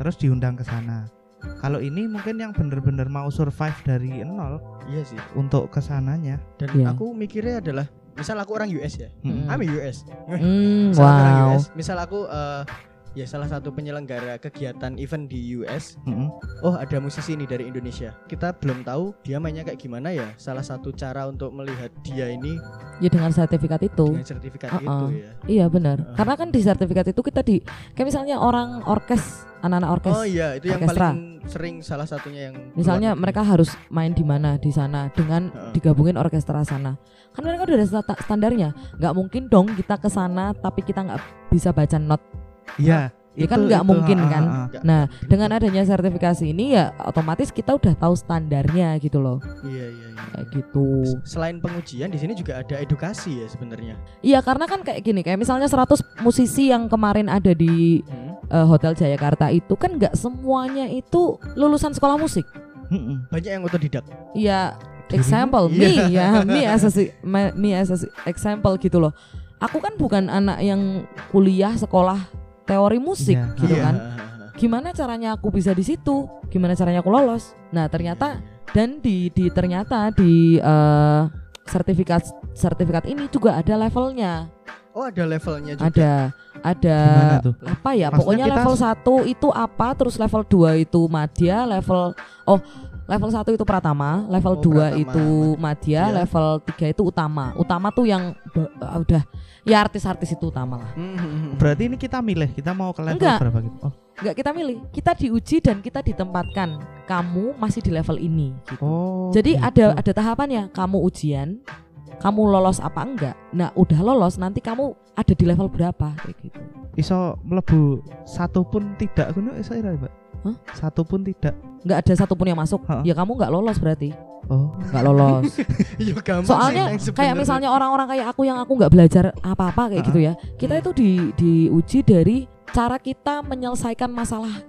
S1: terus diundang ke sana kalau ini mungkin yang bener-bener mau survive dari nol
S2: Iya sih.
S1: untuk kesananya
S2: Dan
S3: Iya.
S2: aku mikirnya adalah misal aku orang US ya.
S3: Hmm.
S2: I'm a US.
S3: Hmm,
S2: Misal aku orang
S3: wow
S2: US, misal aku eh, ya salah satu penyelenggara kegiatan event di US.
S1: Mm-mm.
S2: Oh, ada musisi ini dari Indonesia. Kita belum tahu dia mainnya kayak gimana ya. Salah satu cara untuk melihat dia ini
S3: ya dengan sertifikat itu
S2: dengan sertifikat
S3: Uh-uh.
S2: itu ya.
S3: iya benar
S2: Uh.
S3: karena kan di sertifikat itu kita di kayak misalnya orang orkes anak-anak orkes
S2: Oh iya, itu yang
S3: orkestra.
S2: paling sering salah satunya yang
S3: misalnya
S2: keluar
S3: mereka harus main di mana di sana dengan
S2: Uh-uh.
S3: digabungin orkestra sana kan mereka udah ada sta- standarnya nggak mungkin dong kita ke sana tapi kita nggak bisa baca not
S1: iya
S3: Ya kan nggak mungkin kan?
S1: ah,
S3: Nah, dengan adanya sertifikasi ini ya otomatis kita udah tahu standarnya gitu loh.
S2: Iya iya. iya.
S3: Kayak gitu.
S2: Selain pengujian di sini juga ada edukasi ya sebenarnya.
S3: Iya, karena kan kayak gini, kayak misalnya 100 musisi yang kemarin ada di eh, Hotel Jayakarta itu kan nggak semuanya itu lulusan sekolah musik.
S1: ah.
S2: Banyak yang otodidak.
S3: Iya, example me ya, me as a, si- me me as a si- example gitu loh. Aku kan bukan anak yang kuliah sekolah teori musik
S1: Iya.
S3: gitu
S2: Iya.
S3: kan. Gimana caranya aku bisa di situ? Gimana caranya aku lolos? Nah, ternyata dan di di ternyata di eh, sertifikat sertifikat ini juga ada levelnya.
S2: Oh ada levelnya juga.
S3: Ada ada
S1: Gimana tuh?
S3: apa ya
S1: Maksudnya
S3: pokoknya
S1: kita-
S3: level 1 itu apa terus level 2 itu madya level oh level 1 itu pratama level
S2: Oh, pratama.
S3: 2 itu madya
S2: Iya.
S3: level 3 itu utama utama tuh yang be- ah, udah ya artis-artis itu utama lah
S2: Hmm.
S1: Berarti ini kita milih, kita mau ke level
S3: Enggak.
S1: berapa gitu. Oh,
S3: nggak kita milih kita diuji dan kita ditempatkan kamu masih di level ini gitu.
S1: oh.
S3: jadi
S1: gitu.
S3: ada ada tahapannya kamu ujian kamu lolos apa enggak nah udah lolos nanti kamu ada di level berapa kayak gitu
S1: iso mlebu satu pun tidak ngono iso ora, Pak?
S3: Hah?
S1: Satu pun tidak.
S3: nggak ada satupun yang masuk
S1: Ha-ha.
S3: ya kamu nggak lolos berarti
S1: Oh.
S3: nggak lolos
S2: Iya, gampang sih
S3: soalnya
S2: yang
S3: kayak
S2: sebenarnya.
S3: misalnya orang-orang kayak aku yang aku nggak belajar apa-apa kayak
S1: Ah.
S3: gitu ya kita
S2: Hmm.
S3: itu di diuji dari cara kita menyelesaikan masalah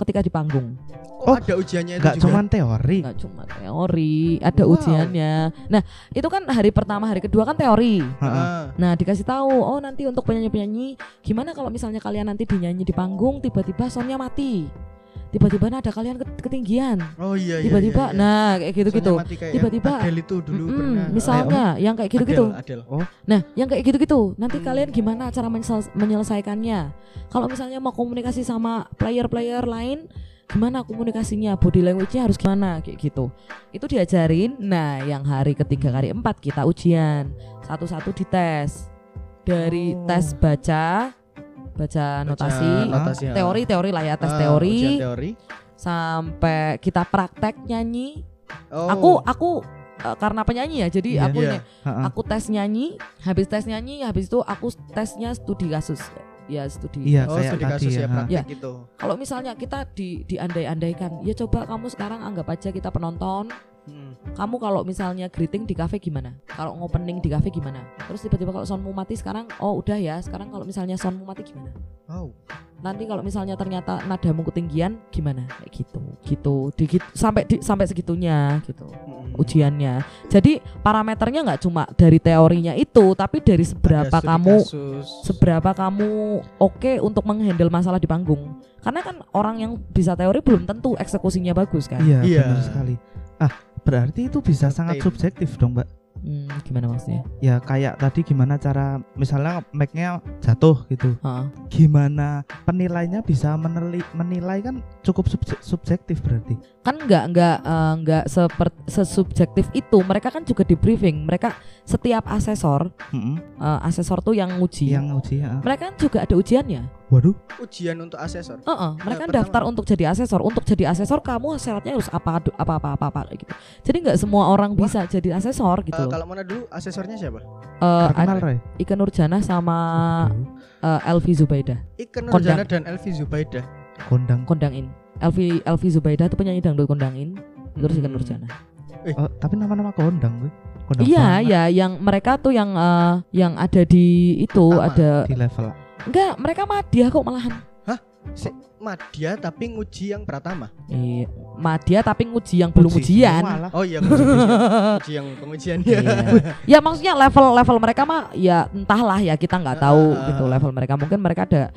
S3: ketika di panggung
S2: Oh, ada ujiannya itu
S1: Enggak
S2: juga.
S1: cuman teori.
S3: nggak cuma teori ada
S2: Wow.
S3: ujiannya nah itu kan hari pertama hari kedua kan teori
S1: Heeh.
S2: Ah,
S3: nah dikasih tahu oh nanti untuk penyanyi-penyanyi gimana kalau misalnya kalian nanti dinyanyi di panggung tiba-tiba soundnya mati tiba-tiba nada kalian ke- ketinggian
S2: Oh iya iya.
S3: tiba-tiba
S2: iya, iya.
S3: nah kayak gitu-gitu
S2: Soalnya mati kayak
S3: Tiba-tiba,
S2: Adele itu dulu
S3: Mm-mm,
S2: pernah.
S3: misalnya yang kayak gitu-gitu
S2: Adele, Adele.
S3: Nah, yang kayak gitu-gitu, nanti
S2: Hmm.
S3: kalian gimana cara menyel- menyelesaikannya? Kalau misalnya mau komunikasi sama player-player lain, gimana komunikasinya? Body language-nya harus gimana? Kayak gitu. Itu diajarin. Nah, yang hari ketiga, hari empat kita ujian, satu-satu dites. Dari
S1: Oh.
S3: tes baca, baca notasi,
S2: notasi, ah.
S3: teori-teori lah ya, tes
S2: Ah, ujian
S3: teori,
S2: teori.
S3: sampai kita praktek nyanyi.
S2: Oh.
S3: Aku, aku eh, karena penyanyi ya, jadi
S1: Iya.
S3: aku
S2: Iya.
S3: ini- aku tes nyanyi habis tes nyanyi habis itu aku tesnya studi kasus ya studi
S1: Iya,
S2: Oh,
S1: kayak
S2: studi
S1: tadi
S2: kasus
S1: ya.
S2: ya,
S1: ha.
S2: praktik gitu.
S3: kalau misalnya kita di diandai-andaikan ya coba kamu sekarang anggap aja kita penonton
S2: Hmm.
S3: kamu kalau misalnya greeting di kafe gimana kalau ngopening di kafe gimana terus tiba-tiba kalau soundmu mati sekarang oh udah ya sekarang kalau misalnya soundmu mati gimana
S2: Wow.
S3: nanti kalau misalnya ternyata nadamu ketinggian gimana kayak gitu gitu di, gitu- sampai di, sampai segitunya gitu
S2: Mm-mm.
S3: ujiannya jadi parameternya nggak cuma dari teorinya itu tapi dari
S2: Ada
S3: seberapa
S2: studi
S3: kamu
S2: kasus.
S3: seberapa kamu oke untuk menghandle masalah di panggung karena kan orang yang bisa teori belum tentu eksekusinya bagus kan
S1: Iya,
S2: Iya.
S1: benar sekali. Ah, berarti itu bisa sangat
S2: Tim.
S1: subjektif dong, Mbak.
S3: Hmm, gimana maksudnya
S1: Ya kayak tadi gimana cara misalnya mic-nya jatuh gitu.
S3: Heeh.
S1: Gimana penilainya bisa meneli- menilai kan cukup subje- subjektif berarti.
S3: kan nggak nggak eh, nggak seper- sesubjektif itu mereka kan juga di briefing mereka setiap asesor
S1: Heeh.
S3: eh, asesor tuh yang nguji
S1: Yang uji, ha.
S3: mereka kan juga ada ujiannya
S1: Waduh.
S3: Eh,
S2: ujian untuk asesor.
S3: Heeh, mereka
S2: pertama-
S3: daftar untuk jadi asesor. Untuk jadi asesor kamu syaratnya harus apa adu- apa apa apa, apa gitu. Jadi nggak semua orang bisa jadi asesor gitu.
S2: Eh,
S3: loh.
S2: kalau mana dulu asesornya siapa?
S3: Eh,
S1: terkenal,
S3: ada
S1: Roy.
S3: Ika Nurjanah sama eh, Elvi Zubaidah,
S2: Iken
S3: Kondang.
S2: Nurjana dan Elvi Zubaidah.
S1: Kondang.
S3: Kondangin. Elvi Elvi Zubaidah itu penyanyi dangdut Kondangin. Terus Ika
S2: Hmm.
S3: Nurjanah.
S1: Oh, tapi nama-nama kondang gue. Kondang
S3: Iya,
S1: banget
S3: ya yang mereka tuh yang eh, yang ada di itu
S2: Utama.
S3: ada
S1: Di level
S3: enggak, mereka Madya kok malahan.
S2: Madya tapi nguji yang pertama.
S3: Iya, Madya tapi nguji yang belum ujian.
S1: Walah.
S2: Oh iya, nguji yang pengujian ya.
S3: Iya. ya maksudnya level level mereka mah ya entahlah ya kita nggak tahu
S2: Ah.
S3: gitu level mereka mungkin mereka ada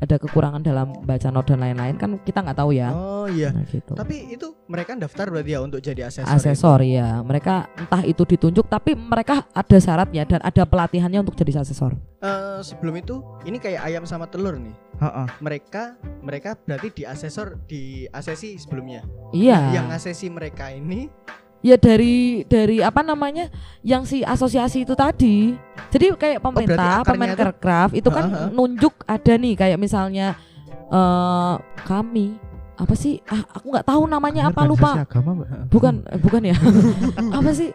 S3: ada kekurangan dalam baca not dan lain-lain kan kita nggak tahu ya
S2: Oh iya.
S3: Nah, gitu
S2: Tapi itu mereka daftar berarti ya untuk jadi asesor.
S3: asesor ya mereka entah itu ditunjuk tapi mereka ada syaratnya dan ada pelatihannya untuk jadi asesor
S2: Eh, sebelum itu ini kayak ayam sama telur nih.
S1: Heeh.
S2: Mereka mereka berarti di asesor di asesi sebelumnya. Yang
S3: iya
S2: asesi mereka ini
S3: ya dari dari apa namanya yang si asosiasi itu tadi jadi kayak
S1: Oh,
S3: pemerintah
S2: berarti akarnya
S3: pemen Kerkraf itu kan
S2: Ha-ha.
S3: nunjuk ada nih kayak misalnya eh kami apa sih ah, aku nggak tahu namanya apa
S1: Organisasi
S3: lupa
S1: agama, Mbak.
S3: bukan eh, bukan ya apa sih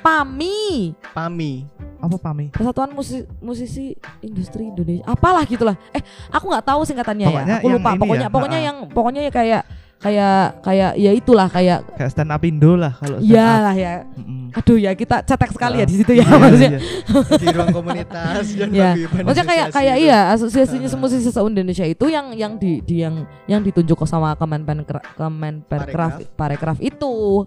S3: pami
S2: PAMI.
S1: apa pami?
S3: Persatuan Musi- musisi, industri Indonesia. Apalah gitulah. Eh, aku nggak tahu singkatannya
S1: Pokoknya
S3: ya. Aku
S1: yang
S3: lupa.
S1: ini
S3: Pokoknya
S1: ya,
S3: pokoknya
S1: ha-ha.
S3: yang pokoknya ya kayak kayak kayak ya itulah kayak
S1: Kayak stand up Indo lah kalau stand
S3: ya
S1: up.
S3: lah ya.
S1: Mm-mm.
S3: Aduh ya kita cetek sekali ya
S1: Ha.
S3: di situ ya
S1: Iya,
S3: maksudnya.
S1: iya.
S2: di ruang komunitas dan
S3: Iya.
S2: paguyuban
S3: Maksudnya kayak
S2: asosiasi
S3: kayak
S2: itu.
S3: iya asosiasinya
S2: Ha-ha.
S3: semua musisi se Indonesia itu yang yang di, di yang yang ditunjuk sama Kemenpen Kemenparekraf Parekraf Hmm. itu
S2: Oh.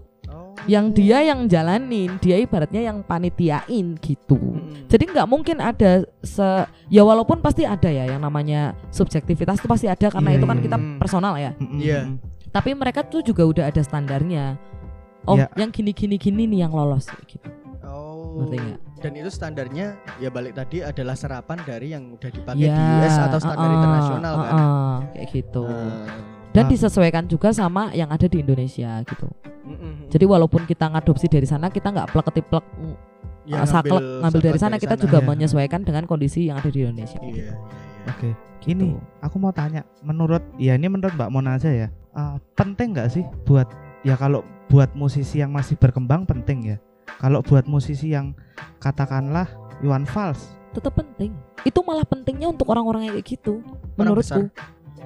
S3: yang dia yang jalanin dia ibaratnya yang panitiain gitu
S2: Mm-mm.
S3: jadi nggak mungkin ada se ya walaupun pasti ada ya yang namanya subjektivitas itu pasti ada karena
S1: Iya,
S3: itu kan
S1: iya.
S3: kita
S2: Hmm.
S3: personal ya
S1: Mm-mm.
S2: Iya.
S3: tapi mereka tuh juga udah ada standarnya oh
S1: Iya.
S3: yang gini gini gini nih yang lolos gitu
S2: Oh.
S3: Ngerti nggak?
S2: Dan itu standarnya ya balik tadi adalah serapan dari yang udah dipakai
S3: Ya,
S2: di US atau standar
S3: uh-uh,
S2: internasional kan.
S3: uh-uh, kayak gitu
S2: Ah.
S3: dan
S1: Ah.
S3: disesuaikan juga sama yang ada di Indonesia gitu
S2: Mm-mm.
S3: jadi walaupun kita ngadopsi dari sana kita nggak plek ketiplek
S2: Ya,
S3: saklek ngambil, dari sana kita juga
S1: Iya.
S3: menyesuaikan dengan kondisi yang ada di Indonesia
S2: Iya, iya, iya.
S1: Oke. Ini aku mau tanya, menurut ya ini menurut Mbak Mona aja ya, eh, penting nggak sih buat ya kalau buat musisi yang masih berkembang penting ya. Kalau buat musisi yang katakanlah Iwan Fals,
S3: tetap penting. Itu malah pentingnya untuk orang-orang yang kayak gitu
S2: Orang
S3: menurutku.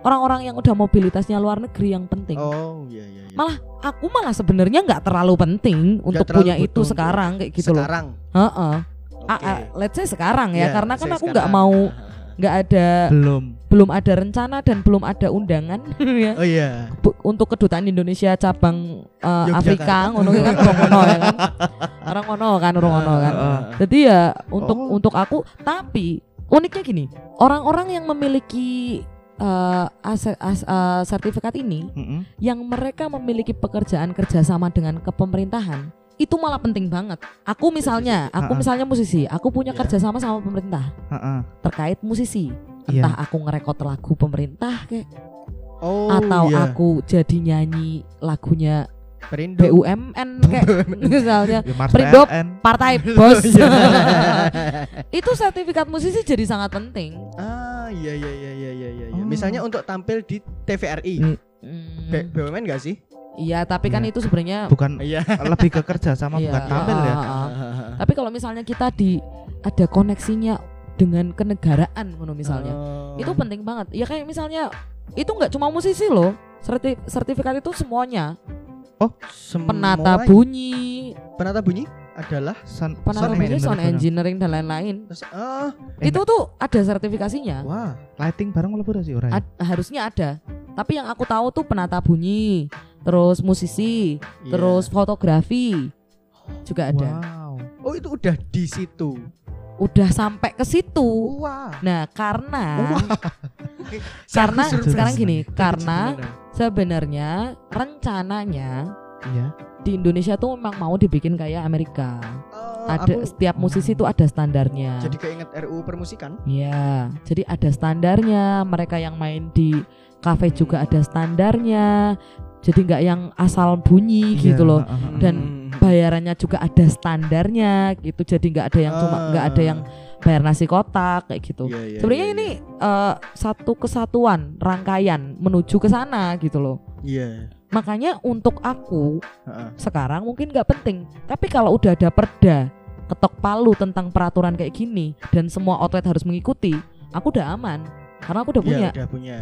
S3: Orang-orang yang udah mobilitasnya luar negeri yang penting.
S2: Oh, iya iya iya.
S3: Malah Aku malah sebenarnya nggak terlalu penting untuk
S2: terlalu
S3: punya
S2: butuh
S3: itu
S2: untuk
S3: sekarang kayak gitu loh.
S2: sekarang.
S3: Heeh.
S2: Oke.
S3: Ah, ah, let's say sekarang ya,
S2: Iya,
S3: karena kan
S2: saya
S3: aku nggak
S2: sekarang.
S3: mau
S2: Ah,
S3: nggak ada
S1: belum.
S3: belum ada rencana dan belum ada undangan ya
S2: ah. Oh iya.
S3: Bu- untuk kedutaan Indonesia cabang eh,
S2: Yogyakarta.
S3: Afrika ngono kan orang ngono ya kan. Orang ngono kan, orang ngono kan.
S1: Ah.
S3: Jadi ya untuk
S1: Oh.
S3: untuk aku tapi uniknya gini, orang-orang yang memiliki eh, ase- as- eh, sertifikat ini
S1: Mm-mm.
S3: yang mereka memiliki pekerjaan kerjasama dengan kepemerintahan itu malah penting banget. Aku misalnya,
S1: Ah,
S3: aku
S1: ah.
S3: misalnya musisi, aku punya
S2: Iya.
S3: kerjasama sama pemerintah
S1: Ha-ha.
S3: terkait musisi.
S1: Iya.
S3: Entah aku ngerekod lagu pemerintah kayak
S2: Oh,
S3: atau
S2: iya.
S3: aku jadi nyanyi lagunya
S2: Perindo.
S3: BUMN kayak misalnya
S1: Ya, Mars
S3: Perindo-
S1: PLN.
S3: partai bos.
S2: Iya.
S3: itu sertifikat musisi jadi sangat penting.
S2: ah, iya iya iya iya iya iya. iya.
S1: Oh.
S2: Misalnya untuk tampil di TVRI.
S3: Hmm.
S2: B- BUMN enggak sih?
S3: Iya, tapi kan
S1: Iya.
S3: itu sebenarnya
S1: bukan
S2: Iya.
S1: lebih ke kerja sama
S3: Iya,
S1: bukan tampil ya.
S3: ah, ah, ah. Tapi kalau misalnya kita di ada koneksinya dengan kenegaraan ngono misalnya.
S2: Oh.
S3: Itu penting banget. Ya kayak misalnya itu nggak cuma musisi loh. Serti- sertifikat itu semuanya.
S2: Semua-
S3: Penata bunyi,
S2: penata bunyi adalah
S1: Son-
S3: penata
S1: sound
S3: bunyi,
S1: engineer
S3: sound
S1: bareng.
S3: engineering dan lain-lain.
S2: ah,
S1: Enak.
S3: Itu tuh ada sertifikasinya.
S2: wah. iya.
S1: Lighting bareng mlebu ora sih ora ya?
S3: Ad- harusnya ada. Tapi yang aku tahu tuh penata bunyi, terus musisi,
S2: Iya.
S3: terus fotografi juga ada.
S1: Wow.
S2: Iya. Oh, itu udah di situ.
S3: Udah sampai ke situ.
S2: Wah.
S3: Nah, karena karena
S2: Karena
S3: sekarang gini, karena sebenarnya rencananya
S1: Iya.
S3: di Indonesia tuh memang mau dibikin kayak Amerika.
S2: ada
S3: ada setiap musisi tuh ada
S2: Eh,
S3: standarnya.
S2: Oh, jadi keinget RUU permusikan.
S3: ya, jadi ada standarnya. Mereka yang main di kafe juga ada standarnya. Jadi nggak yang asal bunyi gitu
S1: Iya,
S3: loh.
S1: ha-ha.
S3: Dan
S2: Hmm.
S3: Bayarannya juga ada standarnya gitu. Jadi nggak ada yang cuma
S2: Ah.
S3: nggak ada yang bayar nasi kotak kayak gitu.
S2: Iya, iya,
S3: Sebenarnya
S2: iya,
S3: ini eh, satu kesatuan rangkaian menuju ke sana gitu loh.
S2: Iya.
S3: Makanya untuk aku
S2: Heeh.
S3: sekarang mungkin nggak penting, tapi kalau udah ada perda ketok palu tentang peraturan kayak gini dan semua outlet harus mengikuti, aku udah aman karena aku udah
S2: Iya,
S3: punya
S2: udah punya.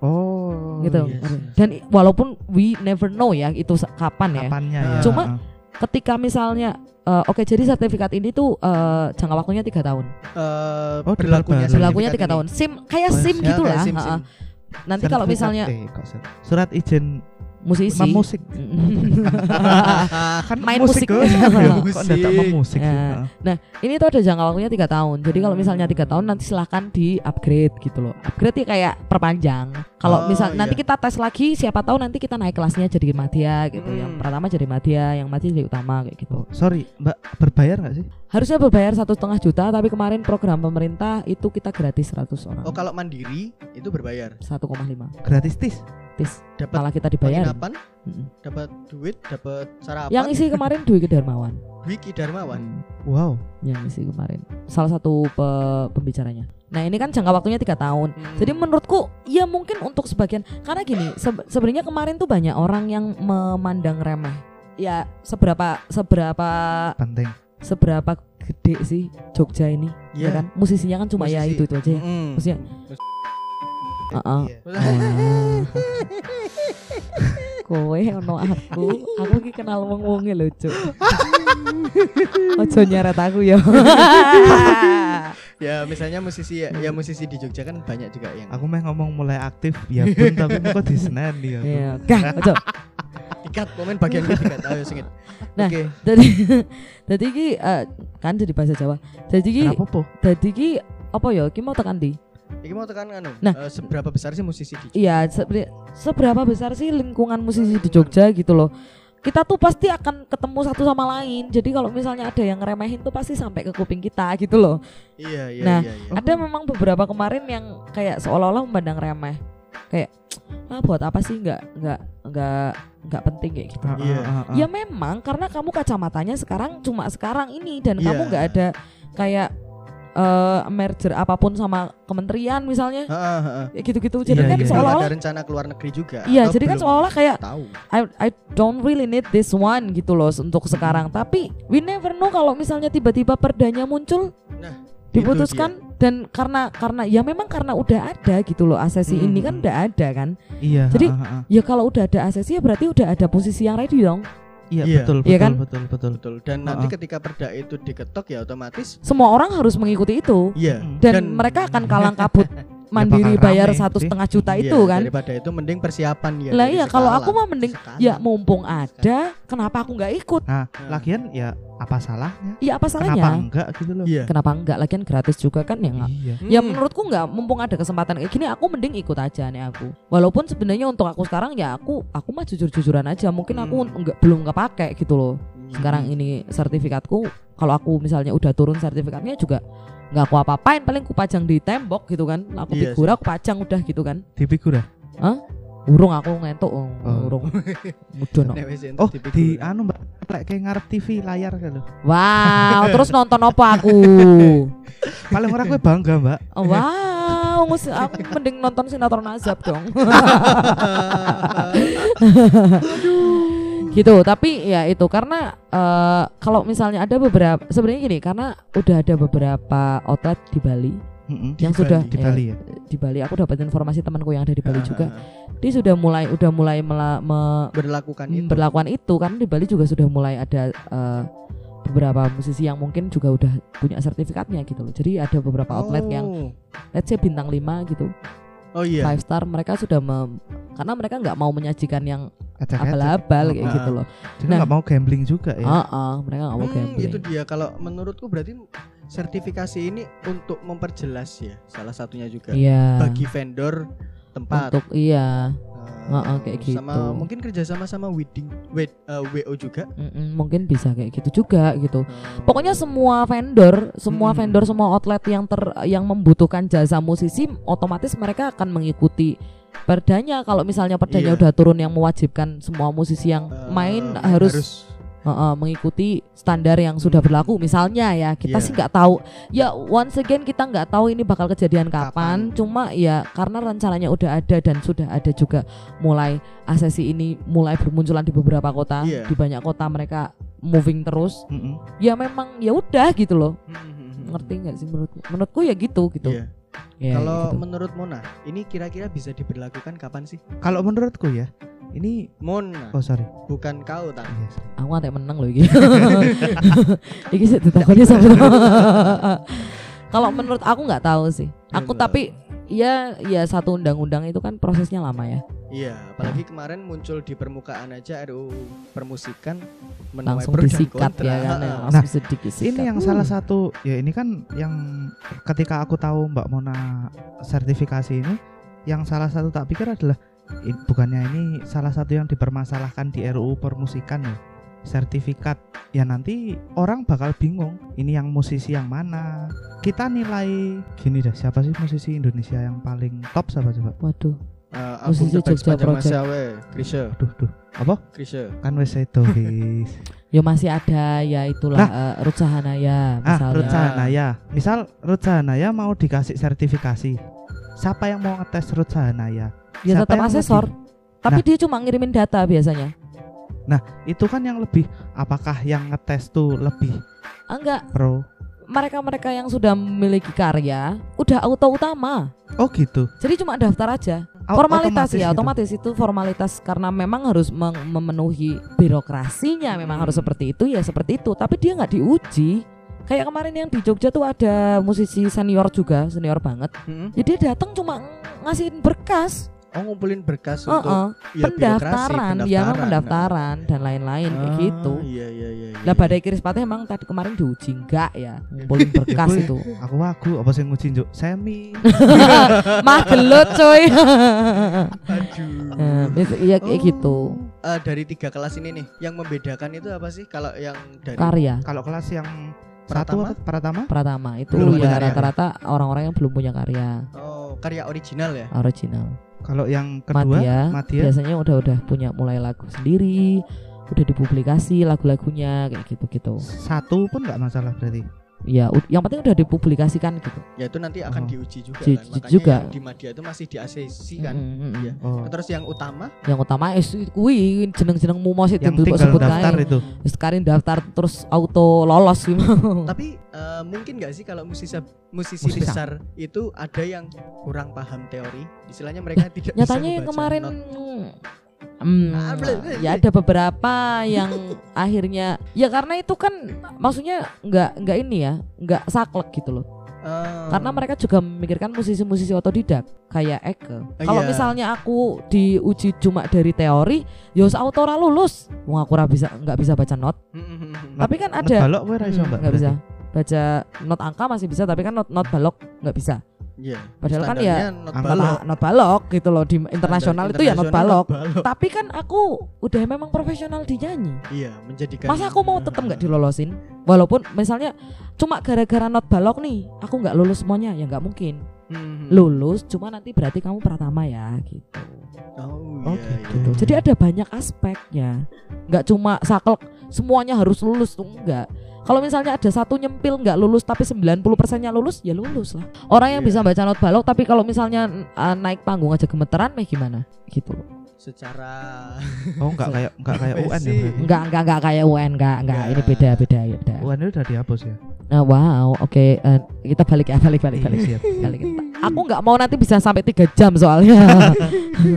S1: Oh.
S3: gitu.
S2: yes, yes.
S3: Dan i- walaupun we never know ya itu sa- kapan ya.
S1: Kapannya ya?
S3: Cuma,
S1: ha-ha.
S3: Ketika misalnya eh, oke jadi sertifikat ini tuh eh, jangka waktunya tiga tahun,
S2: Eh,
S1: Oh,
S2: berlakunya
S1: diperbarui.
S3: berlakunya tiga
S2: sertifikat
S3: tahun.
S2: ini.
S3: SIM kayak
S1: Oh,
S3: SIM
S2: Ya, kayak
S3: gitulah.
S2: SIM,
S3: ha-ha.
S2: SIM.
S3: Nanti kalau
S1: Sertifikat-
S3: misalnya
S1: eh, kok ser- surat izin
S3: musisi
S1: memusik
S2: Ah,
S1: kan
S3: Main musik.
S1: kok. kok
S2: Musik.
S1: mendadak memusik
S3: Ya.
S1: Ha-ha.
S3: ini tuh ada jangka waktunya tiga tahun jadi kalau misalnya
S2: Hmm.
S3: tiga tahun nanti silahkan di upgrade gitu loh upgrade ya kayak perpanjang kalau
S2: Oh,
S3: misal nanti
S2: iya.
S3: kita tes lagi siapa tahu nanti kita naik kelasnya jadi madya gitu
S2: Hmm.
S3: yang pertama jadi madya yang madya jadi utama kayak gitu
S1: Oh, sorry mbak berbayar nggak sih
S3: harusnya berbayar satu setengah juta tapi kemarin program pemerintah itu kita gratis 100 orang
S2: Oh, kalau mandiri itu berbayar.
S3: 1,5
S1: gratis tis
S3: tis
S2: Dapat
S3: malah kita dibayar
S2: penginapan,
S3: Mm-mm.
S2: dapat duit, dapat sarapan.
S3: yang isi kemarin Dwi Darmawan
S2: Wiki Darmawan.
S1: wow
S3: yang isi kemarin salah satu pe- pembicaranya nah ini kan jangka waktunya tiga tahun
S2: Hmm.
S3: Jadi menurutku ya mungkin untuk sebagian karena gini seb- sebenarnya kemarin tuh banyak orang yang memandang remeh ya seberapa seberapa
S1: penting
S3: seberapa gede sih Jogja ini
S2: Iya.
S3: ya kan musisinya kan cuma ya
S2: Musisi.
S3: itu itu aja ya
S2: Mm-mm.
S3: maksudnya Heeh.
S1: Iya.
S3: Wah.
S2: Hmm.
S3: kowe ono aku aku ki kenal wong wonge lho cuk ojo nyaret aku ya
S2: ya misalnya musisi ya, ya musisi di Jogja kan banyak juga yang
S1: aku meh ngomong mulai aktif ya pun tapi kok di Senen ya aku.
S3: ya gah ojo
S2: tiket komen bagian ketiga ayo sengit
S3: Nah.
S2: ya, oke
S3: jadi jadi ki eh, kan jadi bahasa Jawa jadi ki
S1: kenapa po
S3: jadi ki apa ya ki mau tekan di
S2: ini mau tekan anu
S3: Nah.
S2: eh, seberapa besar sih musisi di Jogja
S3: Iya, seber- seberapa besar sih lingkungan musisi di Jogja gitu loh. Kita tuh pasti akan ketemu satu sama lain. Jadi kalau misalnya ada yang ngeremehin tuh pasti sampai ke kuping kita gitu loh.
S2: iya iya
S3: Nah.
S2: iya, iya.
S3: Ada memang beberapa kemarin yang kayak seolah-olah memandang remeh. Kayak ah buat apa sih nggak nggak nggak nggak penting kayak gitu.
S1: Ah, ah,
S2: Iya.
S1: ah, ah.
S3: Ya memang karena kamu kacamatanya sekarang cuma sekarang ini dan
S2: Iya.
S3: kamu nggak ada kayak eh, merger apapun sama kementerian misalnya
S2: Ha, ha, ha.
S3: kayak gitu-gitu.
S1: Iya,
S3: Jadi kan
S1: iya.
S2: Belum
S3: seolah-olah
S2: ada rencana keluar negeri juga
S3: Iya,
S2: atau
S3: jadi kan
S2: belum
S3: seolah-olah kayak
S2: tahu
S3: I, I don't really need this one gitu loh untuk sekarang tapi we never know kalau misalnya tiba-tiba perdanya muncul
S2: Nah,
S3: diputuskan dan karena karena ya memang karena udah ada gitu loh asesi ini kan
S1: Hmm.
S3: udah ada kan
S1: iya
S3: Jadi-
S1: ah, ah, ah.
S3: ya kalau udah ada asesi ya berarti udah ada posisi yang ready dong
S1: iya
S2: Iya.
S1: betul betul
S3: Iya kan?
S1: betul betul
S2: betul dan nanti
S1: Ha, ha.
S2: ketika perda itu diketok ya otomatis
S3: semua orang harus mengikuti itu
S2: iya
S1: Mm.
S3: dan,
S2: Dan-
S3: mereka akan kalang kabut
S1: Ya,
S3: mandiri
S1: bakal
S3: bayar
S1: rame
S3: satu
S1: sih.
S3: setengah juta
S2: Iya,
S3: itu kan
S2: daripada itu mending persiapan ya
S3: lah
S2: dari
S3: iya kalau
S2: sekarang.
S3: aku mah mending
S2: Sekarang.
S3: ya mumpung ada kenapa aku nggak ikut
S1: nah
S2: Nah.
S1: lagian ya apa salahnya
S3: ya apa
S1: kenapa
S3: salahnya
S1: enggak gitu loh
S2: iya
S3: kenapa enggak lagian gratis juga kan ya nggak
S1: iya
S3: Ya
S2: Hmm.
S3: menurutku nggak mumpung ada kesempatan kayak gini aku mending ikut aja nih aku. Walaupun sebenarnya untuk aku sekarang ya aku aku mah jujur-jujuran aja mungkin aku
S2: Hmm.
S3: nggak belum nggak pakai gitu loh. Sekarang ini sertifikatku kalau aku misalnya udah turun sertifikatnya juga nggak aku apa-apain paling aku pajang di tembok gitu kan. Aku
S2: Iya
S3: figura aku pajang udah gitu kan.
S1: di figura
S3: Urung aku ngentuk oh, urung. Mudun. aku.
S2: Nek wis entuk
S1: oh di
S2: dipikul.
S1: anu mbak kayak kayak ngarep TV layar gitu
S3: Wow, terus nonton apa aku?
S1: paling ora gue bangga mbak
S3: Wow, ngus- aku mending nonton sinetron azab dong. gitu tapi ya itu karena eh, kalau misalnya ada beberapa sebenarnya gini karena udah ada beberapa outlet di Bali
S1: Mm-mm.
S3: yang
S2: Bali, Ah,
S3: sudah
S1: di
S3: ya,
S1: Bali ya
S3: di Bali aku dapat informasi temanku yang ada di
S2: Ha,
S3: Bali
S2: ha,
S3: juga
S2: ha.
S3: dia sudah mulai udah mulai mela- me-
S2: berlakukan
S3: Hmm,
S2: itu
S3: berlakuan itu karena di Bali juga sudah mulai ada eh, beberapa musisi yang mungkin juga udah punya sertifikatnya gitu loh jadi ada beberapa outlet
S2: Oh.
S3: yang let's say bintang 5 gitu
S2: oh iya
S3: five star mereka sudah mem- karena mereka nggak mau menyajikan yang
S1: acak-acak
S3: abal-abal kayak
S2: Ah. iya.
S3: gitu loh
S1: jadi nggak mau gambling juga ya
S3: Ah, ah, mereka nggak mau
S2: Hmm,
S3: gambling
S2: itu dia kalau menurutku berarti sertifikasi ini untuk memperjelas ya salah satunya juga
S3: Iya.
S2: bagi vendor tempat
S3: Untuk iya,
S2: Eh,
S3: Heeh, kayak gitu.
S2: sama mungkin kerjasama sama wedding wed, eh, wo juga
S3: mm-mm, mungkin bisa kayak gitu juga gitu. Pokoknya semua vendor, semua
S2: Hmm.
S3: vendor, semua outlet yang ter yang membutuhkan jasa musisi, otomatis mereka akan mengikuti perdanya. Kalau misalnya perdanya
S2: Iya.
S3: udah turun yang mewajibkan semua musisi yang
S2: Eh,
S3: main harus, heeh, mengikuti standar yang sudah
S2: Hmm.
S3: berlaku. Misalnya ya,
S2: Iya.
S3: kita sih nggak tahu. Ya once again kita nggak tahu ini bakal kejadian
S2: Kapan.
S3: kapan. Cuma ya karena rencananya udah ada dan sudah ada juga mulai asesi ini mulai bermunculan di beberapa kota,
S2: Iya.
S3: di banyak kota mereka moving terus.
S1: Mm-mm.
S3: Ya memang ya udah gitu loh.
S2: Hmm.
S3: Ngerti nggak sih menurutku? Menurutku ya gitu gitu.
S2: Iya.
S3: Ya,
S2: kalau
S3: gitu.
S2: menurut Mona ini kira-kira bisa diberlakukan kapan sih
S1: kalau menurutku ya ini
S2: Mona
S1: oh sorry
S2: bukan kau tak
S1: Iya, sorry.
S3: aku ngantek menang loh iki. iki sih ditakonnya sama. Kalau menurut aku nggak tahu sih.
S1: Iya.
S3: Aku
S2: Bener.
S3: tapi ya ya satu undang-undang itu kan prosesnya lama ya.
S2: Iya, apalagi kemarin muncul di permukaan aja RUU permusikan menuai
S3: Langsung
S2: pro dan
S3: disikat
S2: kontra.
S3: ya kan. ya.
S2: Ha-ha.
S3: Langsung sedikit disikat.
S1: Nah, ini yang
S3: Hmm.
S1: salah satu ya ini kan yang ketika aku tahu Mbak Mona sertifikasi ini yang salah satu tak pikir adalah i- bukannya ini salah satu yang dipermasalahkan di RUU permusikan ya sertifikat ya nanti orang bakal bingung ini yang musisi yang mana kita nilai gini dah siapa sih musisi Indonesia yang paling top siapa coba
S3: Waduh.
S2: Eh,
S3: Musisi
S2: album terbaik
S3: Jogja
S2: sepanjang
S3: Project.
S2: masa we, Krisye,
S1: aduh duh apa
S2: Krisye.
S1: kan wes itu Riz.
S3: Ya masih ada ya itulah eh, Ruth Sahanaya
S1: ah
S3: misalnya.
S1: Ruth Sahanaya misal Ruth Sahanaya mau dikasih sertifikasi siapa yang mau ngetes Ruth Sahanaya
S3: ya
S1: siapa
S3: tetap
S1: yang Nah. mau
S3: asesor.
S1: di-
S3: Tapi dia cuma ngirimin data biasanya.
S1: itu kan yang lebih apakah yang ngetes tuh lebih
S3: Ah, enggak,
S1: pro
S3: mereka-mereka yang sudah memiliki karya udah auto utama.
S1: Oh gitu.
S3: Jadi cuma daftar aja.
S1: Au-
S3: formalitas ya,
S1: gitu.
S3: otomatis itu formalitas karena memang harus meng- memenuhi birokrasinya, memang harus
S2: Hmm.
S3: seperti itu ya seperti itu. Tapi dia nggak diuji. Kayak kemarin yang di Jogja tuh ada musisi senior juga, senior banget.
S2: Mm-mm.
S3: Ya dia datang cuma ngasihin berkas,
S2: Oh ngumpulin berkas
S3: Heeh.
S2: untuk ya,
S3: oh, pendaftaran,
S2: birokrasi,
S3: ya memang
S2: pendaftaran. ya.
S3: pendaftaran dan lain-lain kayak
S2: Ah,
S3: gitu.
S2: Iya iya iya. iya.
S3: Lah badai kiris patah emang tadi kemarin diuji enggak ya ngumpulin berkas
S1: Ya, gue-
S3: itu.
S1: Aku wagu apa sih nguji njuk? Semi.
S3: Mah gelut coy.
S2: Aduh.
S3: Eh, itu- Iya
S2: Oh.
S3: kayak gitu.
S2: Eh, dari tiga kelas ini nih, yang membedakan itu apa sih? Kalau yang dari
S3: Karya
S1: Kalau kelas yang satu
S2: Pratama?
S1: apa? Pratama?
S3: pertama itu
S2: Belum punya
S3: ya
S2: karya.
S3: rata-rata orang-orang yang belum punya karya
S2: oh, karya original ya?
S3: original.
S1: Kalau yang kedua
S3: Matia,
S1: Matia.
S3: biasanya udah-udah punya mulai lagu sendiri, udah dipublikasi lagu-lagunya kayak gitu-gitu.
S1: Satu pun nggak masalah berarti.
S3: Ya, ud- yang penting udah dipublikasikan gitu.
S2: Ya itu nanti akan
S1: Oh.
S2: diuji juga
S3: Diuji
S2: kan. Makanya
S3: juga.
S2: yang di media itu masih diasesi kan.
S3: Mm, mm, mm.
S2: Iya.
S1: Oh.
S2: Terus yang utama
S3: Yang utama es kui jeneng-jeneng mumos itu
S1: Yang
S3: kok
S1: tinggal
S3: sebut
S1: daftar
S3: kae.
S1: itu.
S3: Wis karin daftar terus auto lolos gitu.
S2: Tapi eh, mungkin nggak sih kalau musisi musisi
S1: Musisa.
S2: besar itu ada yang kurang paham teori, istilahnya mereka tidak bisa
S3: Nyatanya yang
S2: membaca
S3: kemarin
S2: not.
S3: Hmm,
S2: Ah, bleh, bleh,
S3: ya ada beberapa yang akhirnya ya karena itu kan maksudnya nggak nggak ini ya nggak saklek gitu loh
S2: Eh,
S3: karena mereka juga memikirkan musisi-musisi otodidak kayak Eke kalau
S2: Iya.
S3: misalnya aku diuji cuma dari teori ya wis auto ra lulus wong aku ra bisa nggak bisa baca not tapi kan ada
S1: Balok kowe ra iso,
S3: Hmm,
S1: Mbak.
S3: nggak bisa
S1: berarti.
S3: baca not angka masih bisa tapi kan not not balok nggak bisa
S2: Iya.
S3: Padahal kan
S2: standarnya
S3: ya
S2: not
S1: angka
S2: balok.
S3: not, not balok gitu loh di internasional itu ya not
S2: Internasional
S3: balok tapi kan aku udah memang profesional di nyanyi
S2: Iya, menjadikan
S3: masa aku mau tetap nggak dilolosin walaupun misalnya cuma gara-gara not balok nih aku nggak lulus semuanya ya nggak mungkin
S2: Hmm.
S3: lulus cuma nanti berarti kamu pratama ya gitu
S2: Oh,
S1: Oh,
S2: iya,
S1: gitu.
S2: iya.
S3: jadi ada banyak aspeknya nggak cuma saklek semuanya harus lulus tuh enggak kalau misalnya ada satu nyempil nggak lulus tapi 90 persennya lulus ya lulus lah orang yang
S2: Iya.
S3: bisa baca not balok tapi kalau misalnya uh, naik panggung aja gemeteran meh gimana gitu loh
S2: Secara
S1: Oh, enggak kayak enggak kayak UN ya
S2: Profesi.
S1: berarti.
S3: enggak enggak enggak kayak UN enggak enggak ini
S2: Enggak.
S3: beda beda ya beda
S1: UN itu udah dihapus ya.
S3: Nah, wow, oke, eh, kita balik ya, balik, balik, balik,
S1: Iya, siap.
S3: balik. Aku nggak mau nanti bisa sampai tiga jam soalnya.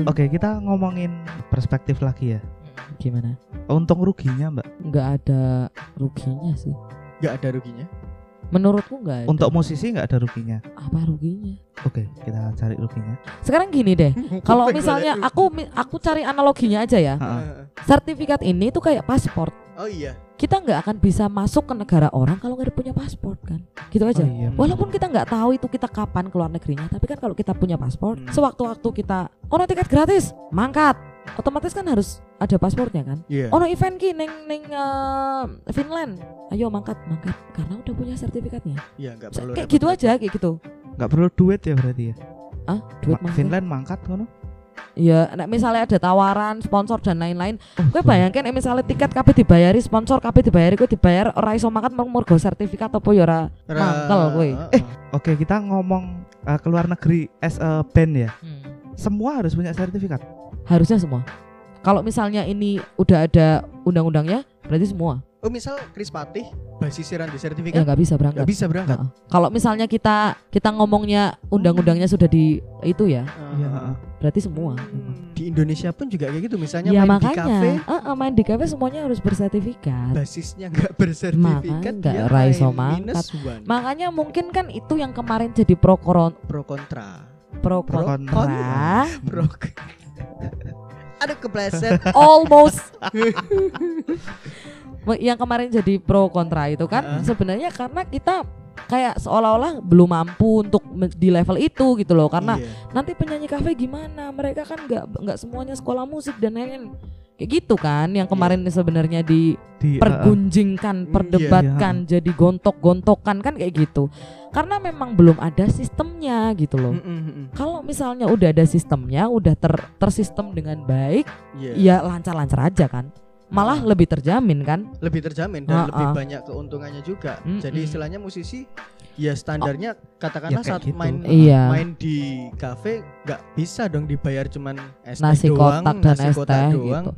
S1: Oke, kita ngomongin perspektif lagi ya.
S3: Hmm, Gimana?
S1: Untung ruginya, Mbak.
S3: Nggak ada ruginya sih.
S2: nggak ada ruginya.
S3: Menurutku nggak. ada.
S1: Untuk musisi nggak ada ruginya.
S3: apa ruginya?
S1: Oke, kita cari ruginya.
S3: Sekarang gini deh, kalau
S2: Kuping gua
S3: misalnya
S2: liat rugi.
S3: aku mi- aku cari analoginya aja ya.
S1: Ha-ha.
S3: Sertifikat ini tuh kayak paspor.
S2: Oh iya.
S3: Kita nggak akan bisa masuk ke negara orang kalau nggak ada punya paspor kan? Gitu aja.
S1: Oh, iya.
S3: Walaupun kita nggak tahu itu kita kapan keluar negerinya, tapi kan kalau kita punya paspor,
S2: Hmm.
S3: sewaktu-waktu kita, oh no tiket gratis, mangkat, otomatis kan harus ada paspornya kan?
S2: Iya.
S3: Oh no event ki neng neng eh, Finland, ayo mangkat mangkat, karena udah punya sertifikatnya.
S2: Iya, nggak
S3: Se-
S2: perlu.
S3: kayak
S2: repot.
S3: gitu aja kayak gitu.
S1: Nggak perlu duit ya berarti ya.
S3: Ah, duit
S1: Ma-
S3: mangkat.
S1: Finland mangkat ngono.
S3: Iya, nek misalnya ada tawaran, sponsor dan lain-lain, Kowe
S1: Oh,
S3: bayangkan nek misalnya tiket kabeh dibayari, sponsor kabeh dibayari, kowe dibayar ora iso mangkat mung mergo sertifikat apa ya ora.
S2: Ra-
S3: mangkel gue.
S2: Eh,
S1: Oke, kita ngomong uh, keluar negeri as a band ya.
S2: Hmm.
S1: Semua harus punya sertifikat.
S3: Harusnya semua. Kalau misalnya ini udah ada undang-undangnya, berarti semua.
S2: oh misal Kris Patih basisiran di
S3: Ya
S2: sertifikat
S3: nggak
S2: Iya
S3: bisa
S2: kan? nggak
S3: berangkat.
S2: bisa berangkat.
S3: Heeh. Kalau misalnya kita kita ngomongnya undang-undangnya sudah di itu ya,
S1: Iya, heeh.
S3: berarti semua.
S2: Hmm, Di Indonesia pun juga kayak gitu, misalnya
S3: Ya
S2: main
S3: makanya,
S2: di kafe
S3: Heeh, main di kafe semuanya harus bersertifikat.
S2: basisnya nggak bersertifikat,
S3: Makanya nggak
S2: dia
S3: ra iso
S2: main minus one.
S3: Makanya mungkin kan itu yang kemarin jadi pro koron
S2: pro kontra,
S3: pro
S1: Pro
S3: kontra
S2: pro. Aduh kepleset.
S3: almost yang kemarin jadi pro kontra itu kan
S2: Heeh.
S3: sebenarnya karena kita kayak seolah-olah belum mampu untuk me- di level itu gitu loh karena
S2: Iya.
S3: nanti penyanyi kafe gimana mereka kan nggak nggak semuanya sekolah musik dan lain-lain kayak gitu kan yang kemarin sebenarnya
S1: Di uh, uh,
S3: dipergunjingkan
S2: Iya,
S3: perdebatkan jadi gontok-gontokan kan kayak gitu karena memang belum ada sistemnya gitu loh
S2: Mm, mm, mm.
S3: kalau misalnya udah ada sistemnya udah ter- tersistem dengan baik
S2: Iya. Hmm.
S3: ya lancar-lancar aja kan malah lebih terjamin kan
S2: lebih terjamin dan
S3: Ah,
S2: lebih
S3: ah.
S2: banyak keuntungannya juga.
S3: Mm-mm. Oh.
S2: Jadi istilahnya musisi ya standarnya katakanlah
S1: Ya, kayak
S2: saat
S1: gitu.
S2: main
S3: Iya.
S2: main di kafe nggak bisa dong dibayar cuman es teh
S3: nasi
S2: doang,
S3: kotak dan
S2: nasi
S3: es
S2: kotak
S3: teh
S2: doang.
S3: gitu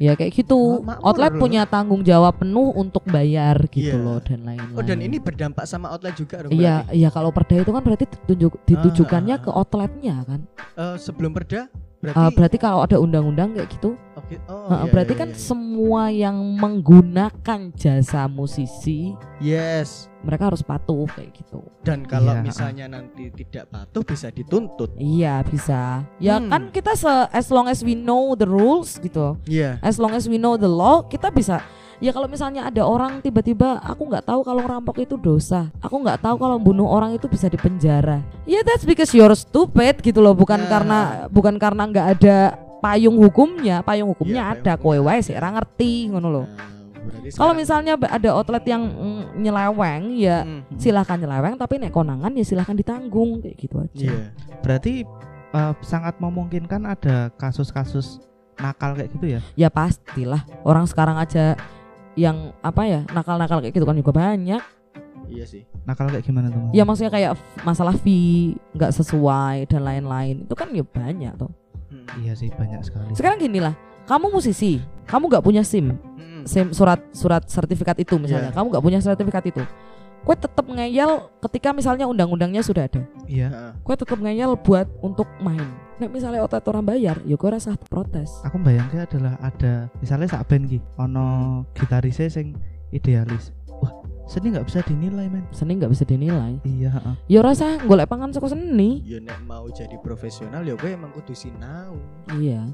S3: Ya kayak gitu.
S2: Ma- makmur
S3: outlet
S2: loh.
S3: punya tanggung jawab penuh untuk bayar gitu
S2: Iya.
S3: loh dan lain-lain.
S2: Oh dan ini berdampak sama outlet juga dong.
S3: Nah. Iya,
S2: berarti?
S3: iya kalau perda itu kan berarti ditunjuk- ditujukannya
S2: ah,
S3: ke outletnya kan.
S2: Eh, sebelum perda berarti.
S3: Eh, berarti kalau ada undang-undang kayak gitu,
S2: Oke, oh,
S3: eh,
S2: iya,
S3: berarti
S2: iya,
S3: kan
S2: iya.
S3: semua yang menggunakan jasa musisi
S2: Yes.
S3: mereka harus patuh kayak gitu.
S2: Dan kalau
S1: Iya,
S2: misalnya nanti tidak patuh bisa dituntut.
S3: Iya bisa. Ya
S2: Hmm.
S3: kan kita se- as long as we know the rules gitu.
S2: Iya.
S3: As long as we know the law, kita bisa. Ya kalau misalnya ada orang tiba-tiba aku nggak tahu kalau rampok itu dosa, aku nggak tahu kalau bunuh orang itu bisa dipenjara. Ya that's because you're stupid gitu loh, bukan
S2: Nah.
S3: karena bukan karena nggak ada payung hukumnya, payung hukumnya
S2: Ya, payung
S3: ada, kowe
S2: hukumnya
S3: wae
S2: ada.
S3: sih ra ngerti ngono loh.
S2: Nah, berarti
S3: Kalau
S2: sekarang-
S3: misalnya ba- ada outlet yang mm, nyeleweng ya
S2: Hmm.
S3: silahkan nyeleweng tapi nek konangan ya silahkan ditanggung kayak gitu aja.
S2: Iya.
S1: Berarti eh, sangat memungkinkan ada kasus-kasus nakal kayak gitu ya.
S3: ya pastilah orang sekarang aja yang apa ya nakal-nakal kayak gitu kan juga banyak
S2: Iya sih.
S1: Nakal kayak gimana tuh? Mas?
S3: ya maksudnya kayak f- masalah fee nggak sesuai dan lain-lain itu kan ya banyak tuh
S2: Hmm.
S1: Iya sih banyak sekali.
S3: sekarang gini lah kamu musisi kamu nggak punya sim
S2: Hmm.
S3: sim surat surat sertifikat itu misalnya
S2: Iya.
S3: kamu nggak punya sertifikat itu kue tetap ngeyel ketika misalnya undang-undangnya sudah ada
S1: Iya.
S2: Nah,
S3: kue tetap ngeyel buat untuk main Nek misalnya otot orang bayar, ya gue rasa protes.
S1: Aku bayangnya adalah ada misalnya sak band ki, ono gitarisnya sing idealis. Wah seni nggak bisa dinilai men.
S3: Seni nggak bisa dinilai.
S1: Iya. heeh.
S3: Ya rasa golek pangan saka seni.
S2: Ya nek mau jadi profesional ya gue emang kudu sinau.
S3: Iya.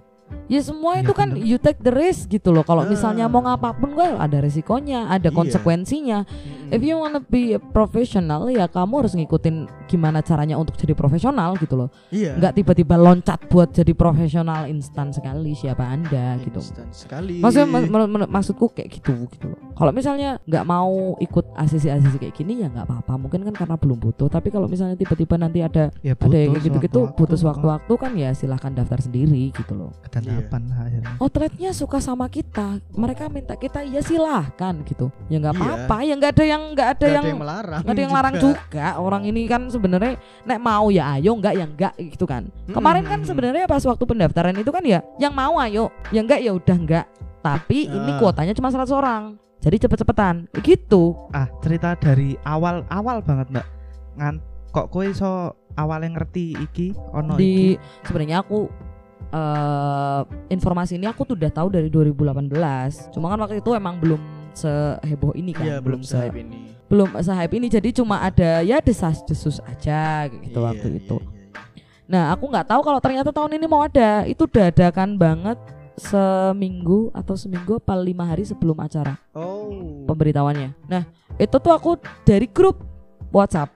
S3: Ya semua
S1: Iya,
S3: itu kan
S1: bener.
S3: you take the risk gitu loh. Kalau
S2: Ah.
S3: misalnya mau ngapapun gue ada resikonya, ada
S2: Iya.
S3: konsekuensinya.
S2: Hmm.
S3: If you wanna be a professional ya kamu harus ngikutin gimana caranya untuk jadi profesional gitu loh.
S2: Iya.
S3: Nggak tiba-tiba loncat buat jadi profesional instan sekali siapa Anda gitu.
S2: Instan sekali.
S3: Maksudnya ma- menurut- menurut- maksudku kayak gitu gitu loh. Kalau misalnya nggak mau ikut asisi-asisi kayak gini ya nggak apa-apa. Mungkin kan karena belum butuh. Tapi kalau misalnya tiba-tiba nanti ada
S1: Ya
S3: ada yang kayak gitu-gitu
S1: sewaktu-waktu,
S3: butuh
S1: heeh.
S3: waktu-waktu kan ya silahkan daftar sendiri gitu loh
S1: Dan kapan lah akhirnya.
S3: outletnya suka sama kita mereka minta kita ya silahkan gitu ya nggak
S2: Iya.
S3: apa-apa ya nggak ada yang nggak ada
S2: Nggak
S3: yang
S2: melarang.
S3: nggak ada yang larang juga orang ini kan sebenarnya nek mau ya ayo nggak ya nggak gitu kan kemarin kan
S2: Hmm.
S3: sebenarnya pas waktu pendaftaran itu kan ya yang mau ayo yang nggak ya udah nggak tapi ini
S2: Ah.
S3: kuotanya cuma 100 orang jadi cepet-cepetan gitu
S2: Oh,
S1: Ah cerita dari awal awal banget mbak. Ngan kok kowe so awalnya ngerti iki ono iki.
S3: di
S2: iya.
S3: sebenarnya aku eh informasi ini aku tuh udah tahu dari 2018. Cuma kan waktu itu emang belum seheboh ini kan,
S2: Iya, belum
S3: se
S2: se-hype ini.
S3: belum sehype ini. Jadi cuma ada ya desas-desus aja kayak gitu
S2: Iya,
S3: waktu
S2: iya,
S3: itu.
S2: iya, iya.
S3: Nah, aku nggak tahu kalau ternyata tahun ini mau ada. Itu dadakan banget seminggu atau seminggu apa lima hari sebelum acara
S2: Oh.
S3: pemberitahuannya. Nah, itu tuh aku dari grup WhatsApp.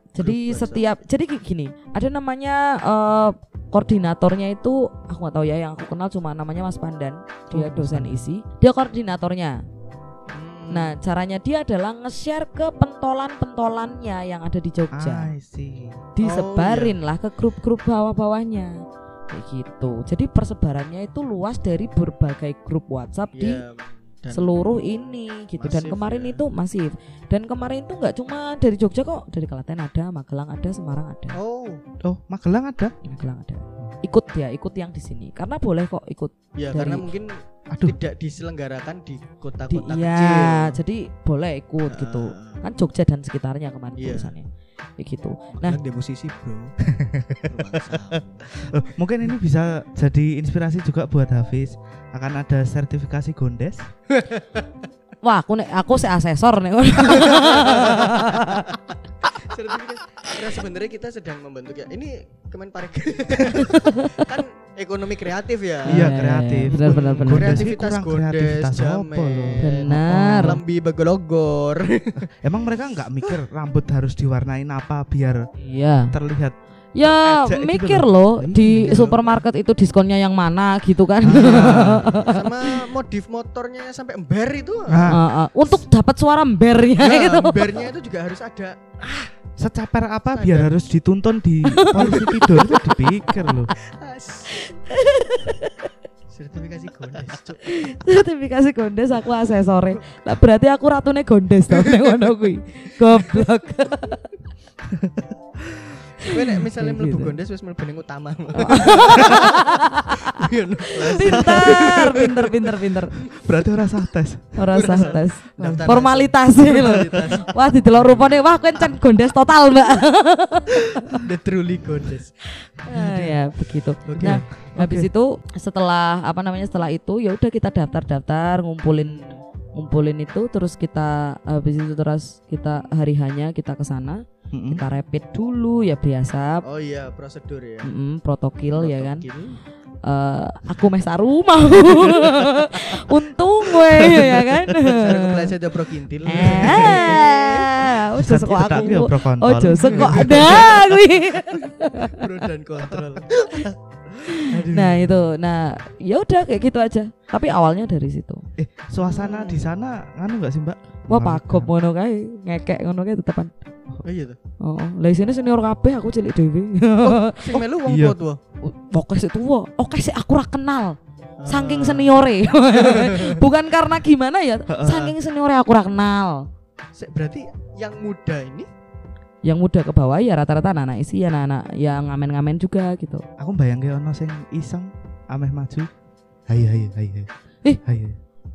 S2: Grup
S3: Jadi
S2: WhatsApp.
S3: setiap jadi kayak gini, ada namanya eh, koordinatornya itu aku nggak tahu ya yang aku kenal cuma namanya Mas Pandan. Dia
S1: Oh, Mas
S3: dosen
S1: Pandan.
S3: isi, dia koordinatornya.
S2: Hmm.
S3: Nah, caranya dia adalah nge-share ke pentolan-pentolannya yang ada di Jogja.
S1: Ah, I see.
S2: Oh, iya.
S3: Disebarin lah ke grup-grup bawah-bawahnya. Kayak gitu. Jadi persebarannya itu luas dari berbagai grup WhatsApp di
S2: Iya, dan-
S3: seluruh ini gitu dan
S2: masif
S3: kemarin
S2: ya.
S3: itu masif dan kemarin itu nggak cuma dari Jogja kok dari Kelaten ada Magelang ada Semarang ada
S2: Oh.
S1: Oh Magelang ada?
S3: Magelang ada ikut ya ikut yang di sini karena boleh kok ikut
S2: Ya
S3: Dari-
S2: karena mungkin
S1: Aduh
S2: tidak diselenggarakan di
S3: di
S2: kota-kota
S3: iya
S2: kecil. Ah.
S3: jadi boleh ikut gitu kan Jogja dan sekitarnya kemarin
S2: Iya.
S3: tulisannya kayak gitu
S2: Nah,
S3: Nah.
S2: di musisi, Bro. Ruang samu.
S1: Eh, mungkin ini bisa jadi inspirasi juga buat Hafiz. Akan ada sertifikasi gondes.
S3: wah aku nek aku se asesor nek
S2: Sertifikat. Nah, sebenarnya kita sedang membentuk ya. Ini Kemenparek. kan ekonomi kreatif ya.
S1: Iya
S3: Eh,
S1: kreatif.
S3: benar, benar, benar.
S1: Gondes ini
S2: Kreativitas
S1: kurang
S2: gondes,
S1: kreativitas
S2: jamet.
S1: apa lho?
S3: Benar.
S1: Oh,
S2: Lambi begologor.
S1: Emang mereka nggak mikir rambut harus diwarnain apa biar
S3: iya
S1: terlihat
S3: ya
S1: Ejek gitu
S3: mikir
S1: loh.
S3: loh Hmm, di
S1: Iya.
S3: supermarket itu diskonnya yang mana gitu kan
S2: Sama modif motornya sampai ember itu.
S1: ah,
S3: Eh, eh, untuk dapat suara bernya
S2: Nah,
S3: gitu
S2: embernya itu juga harus ada.
S1: seceper apa biar harus dituntun di polisi tidur itu dipikir loh.
S2: As. Sertifikasi gondes, Cuk.
S3: sertifikasi gondes aku asesore lah berarti aku ratune gondes tau nek ngono kuwi goblok
S2: Kowe nek misalnya
S1: Kayak
S2: mlebu
S1: gitu.
S2: gondes wis mlebu ning utama.
S3: pinter, pinter, pinter, pinter.
S1: Berarti ora sah tes.
S3: Ora sah tes.
S2: Daftar
S3: Formalitas ini lho. Wah, didelok rupane wah kowe encen gondes total, Mbak.
S2: The truly gondes.
S3: Ah, ya, begitu.
S2: Gitu Oke.
S3: Nah, habis itu setelah apa namanya? Setelah itu ya udah kita daftar-daftar, ngumpulin ngumpulin itu terus kita habis itu terus kita hari hanya kita ke sana,
S1: Mm-mm.
S3: kita rapid dulu ya biasa.
S2: Oh iya, prosedur ya.
S3: Mm-mm, protokol ya kan.
S2: Protokil.
S3: Eh, aku mes rumah. Untung gue ya kan.
S2: Cara kepleset ya ada prokintil.
S3: Eh, ojo
S1: Bisa
S3: seko
S1: dicetak ya,
S3: aku.
S1: pro kontol.
S3: Ojo seko ada kuwi.
S2: Pro dan kontrol.
S3: Nah, itu. Nah, ya udah kayak gitu aja. Tapi awalnya dari situ.
S1: Eh, suasana di sana nganu enggak sih, Mbak?
S3: Wah,
S1: nah.
S3: pagop ngono kae, ngekek ngono kae tetepan.
S2: Oh iya tuh.
S3: Oh, oh. lah isine senior kabeh aku cilik dhewe.
S2: Sing melu wong tua
S1: iya.
S2: tua.
S3: Oke sih tuwa, oke sih aku ora kenal. Saking seniore. Bukan karena gimana ya, saking seniore aku ora kenal.
S2: Se- berarti yang muda ini
S3: Yang muda ke bawah ya rata-rata anak-anak isi anak-anak yang ngamen-ngamen juga gitu.
S1: Aku bayangke ono sing iseng ameh maju. Hayo hayo hayo. hayo.
S3: Ih.
S1: hayo.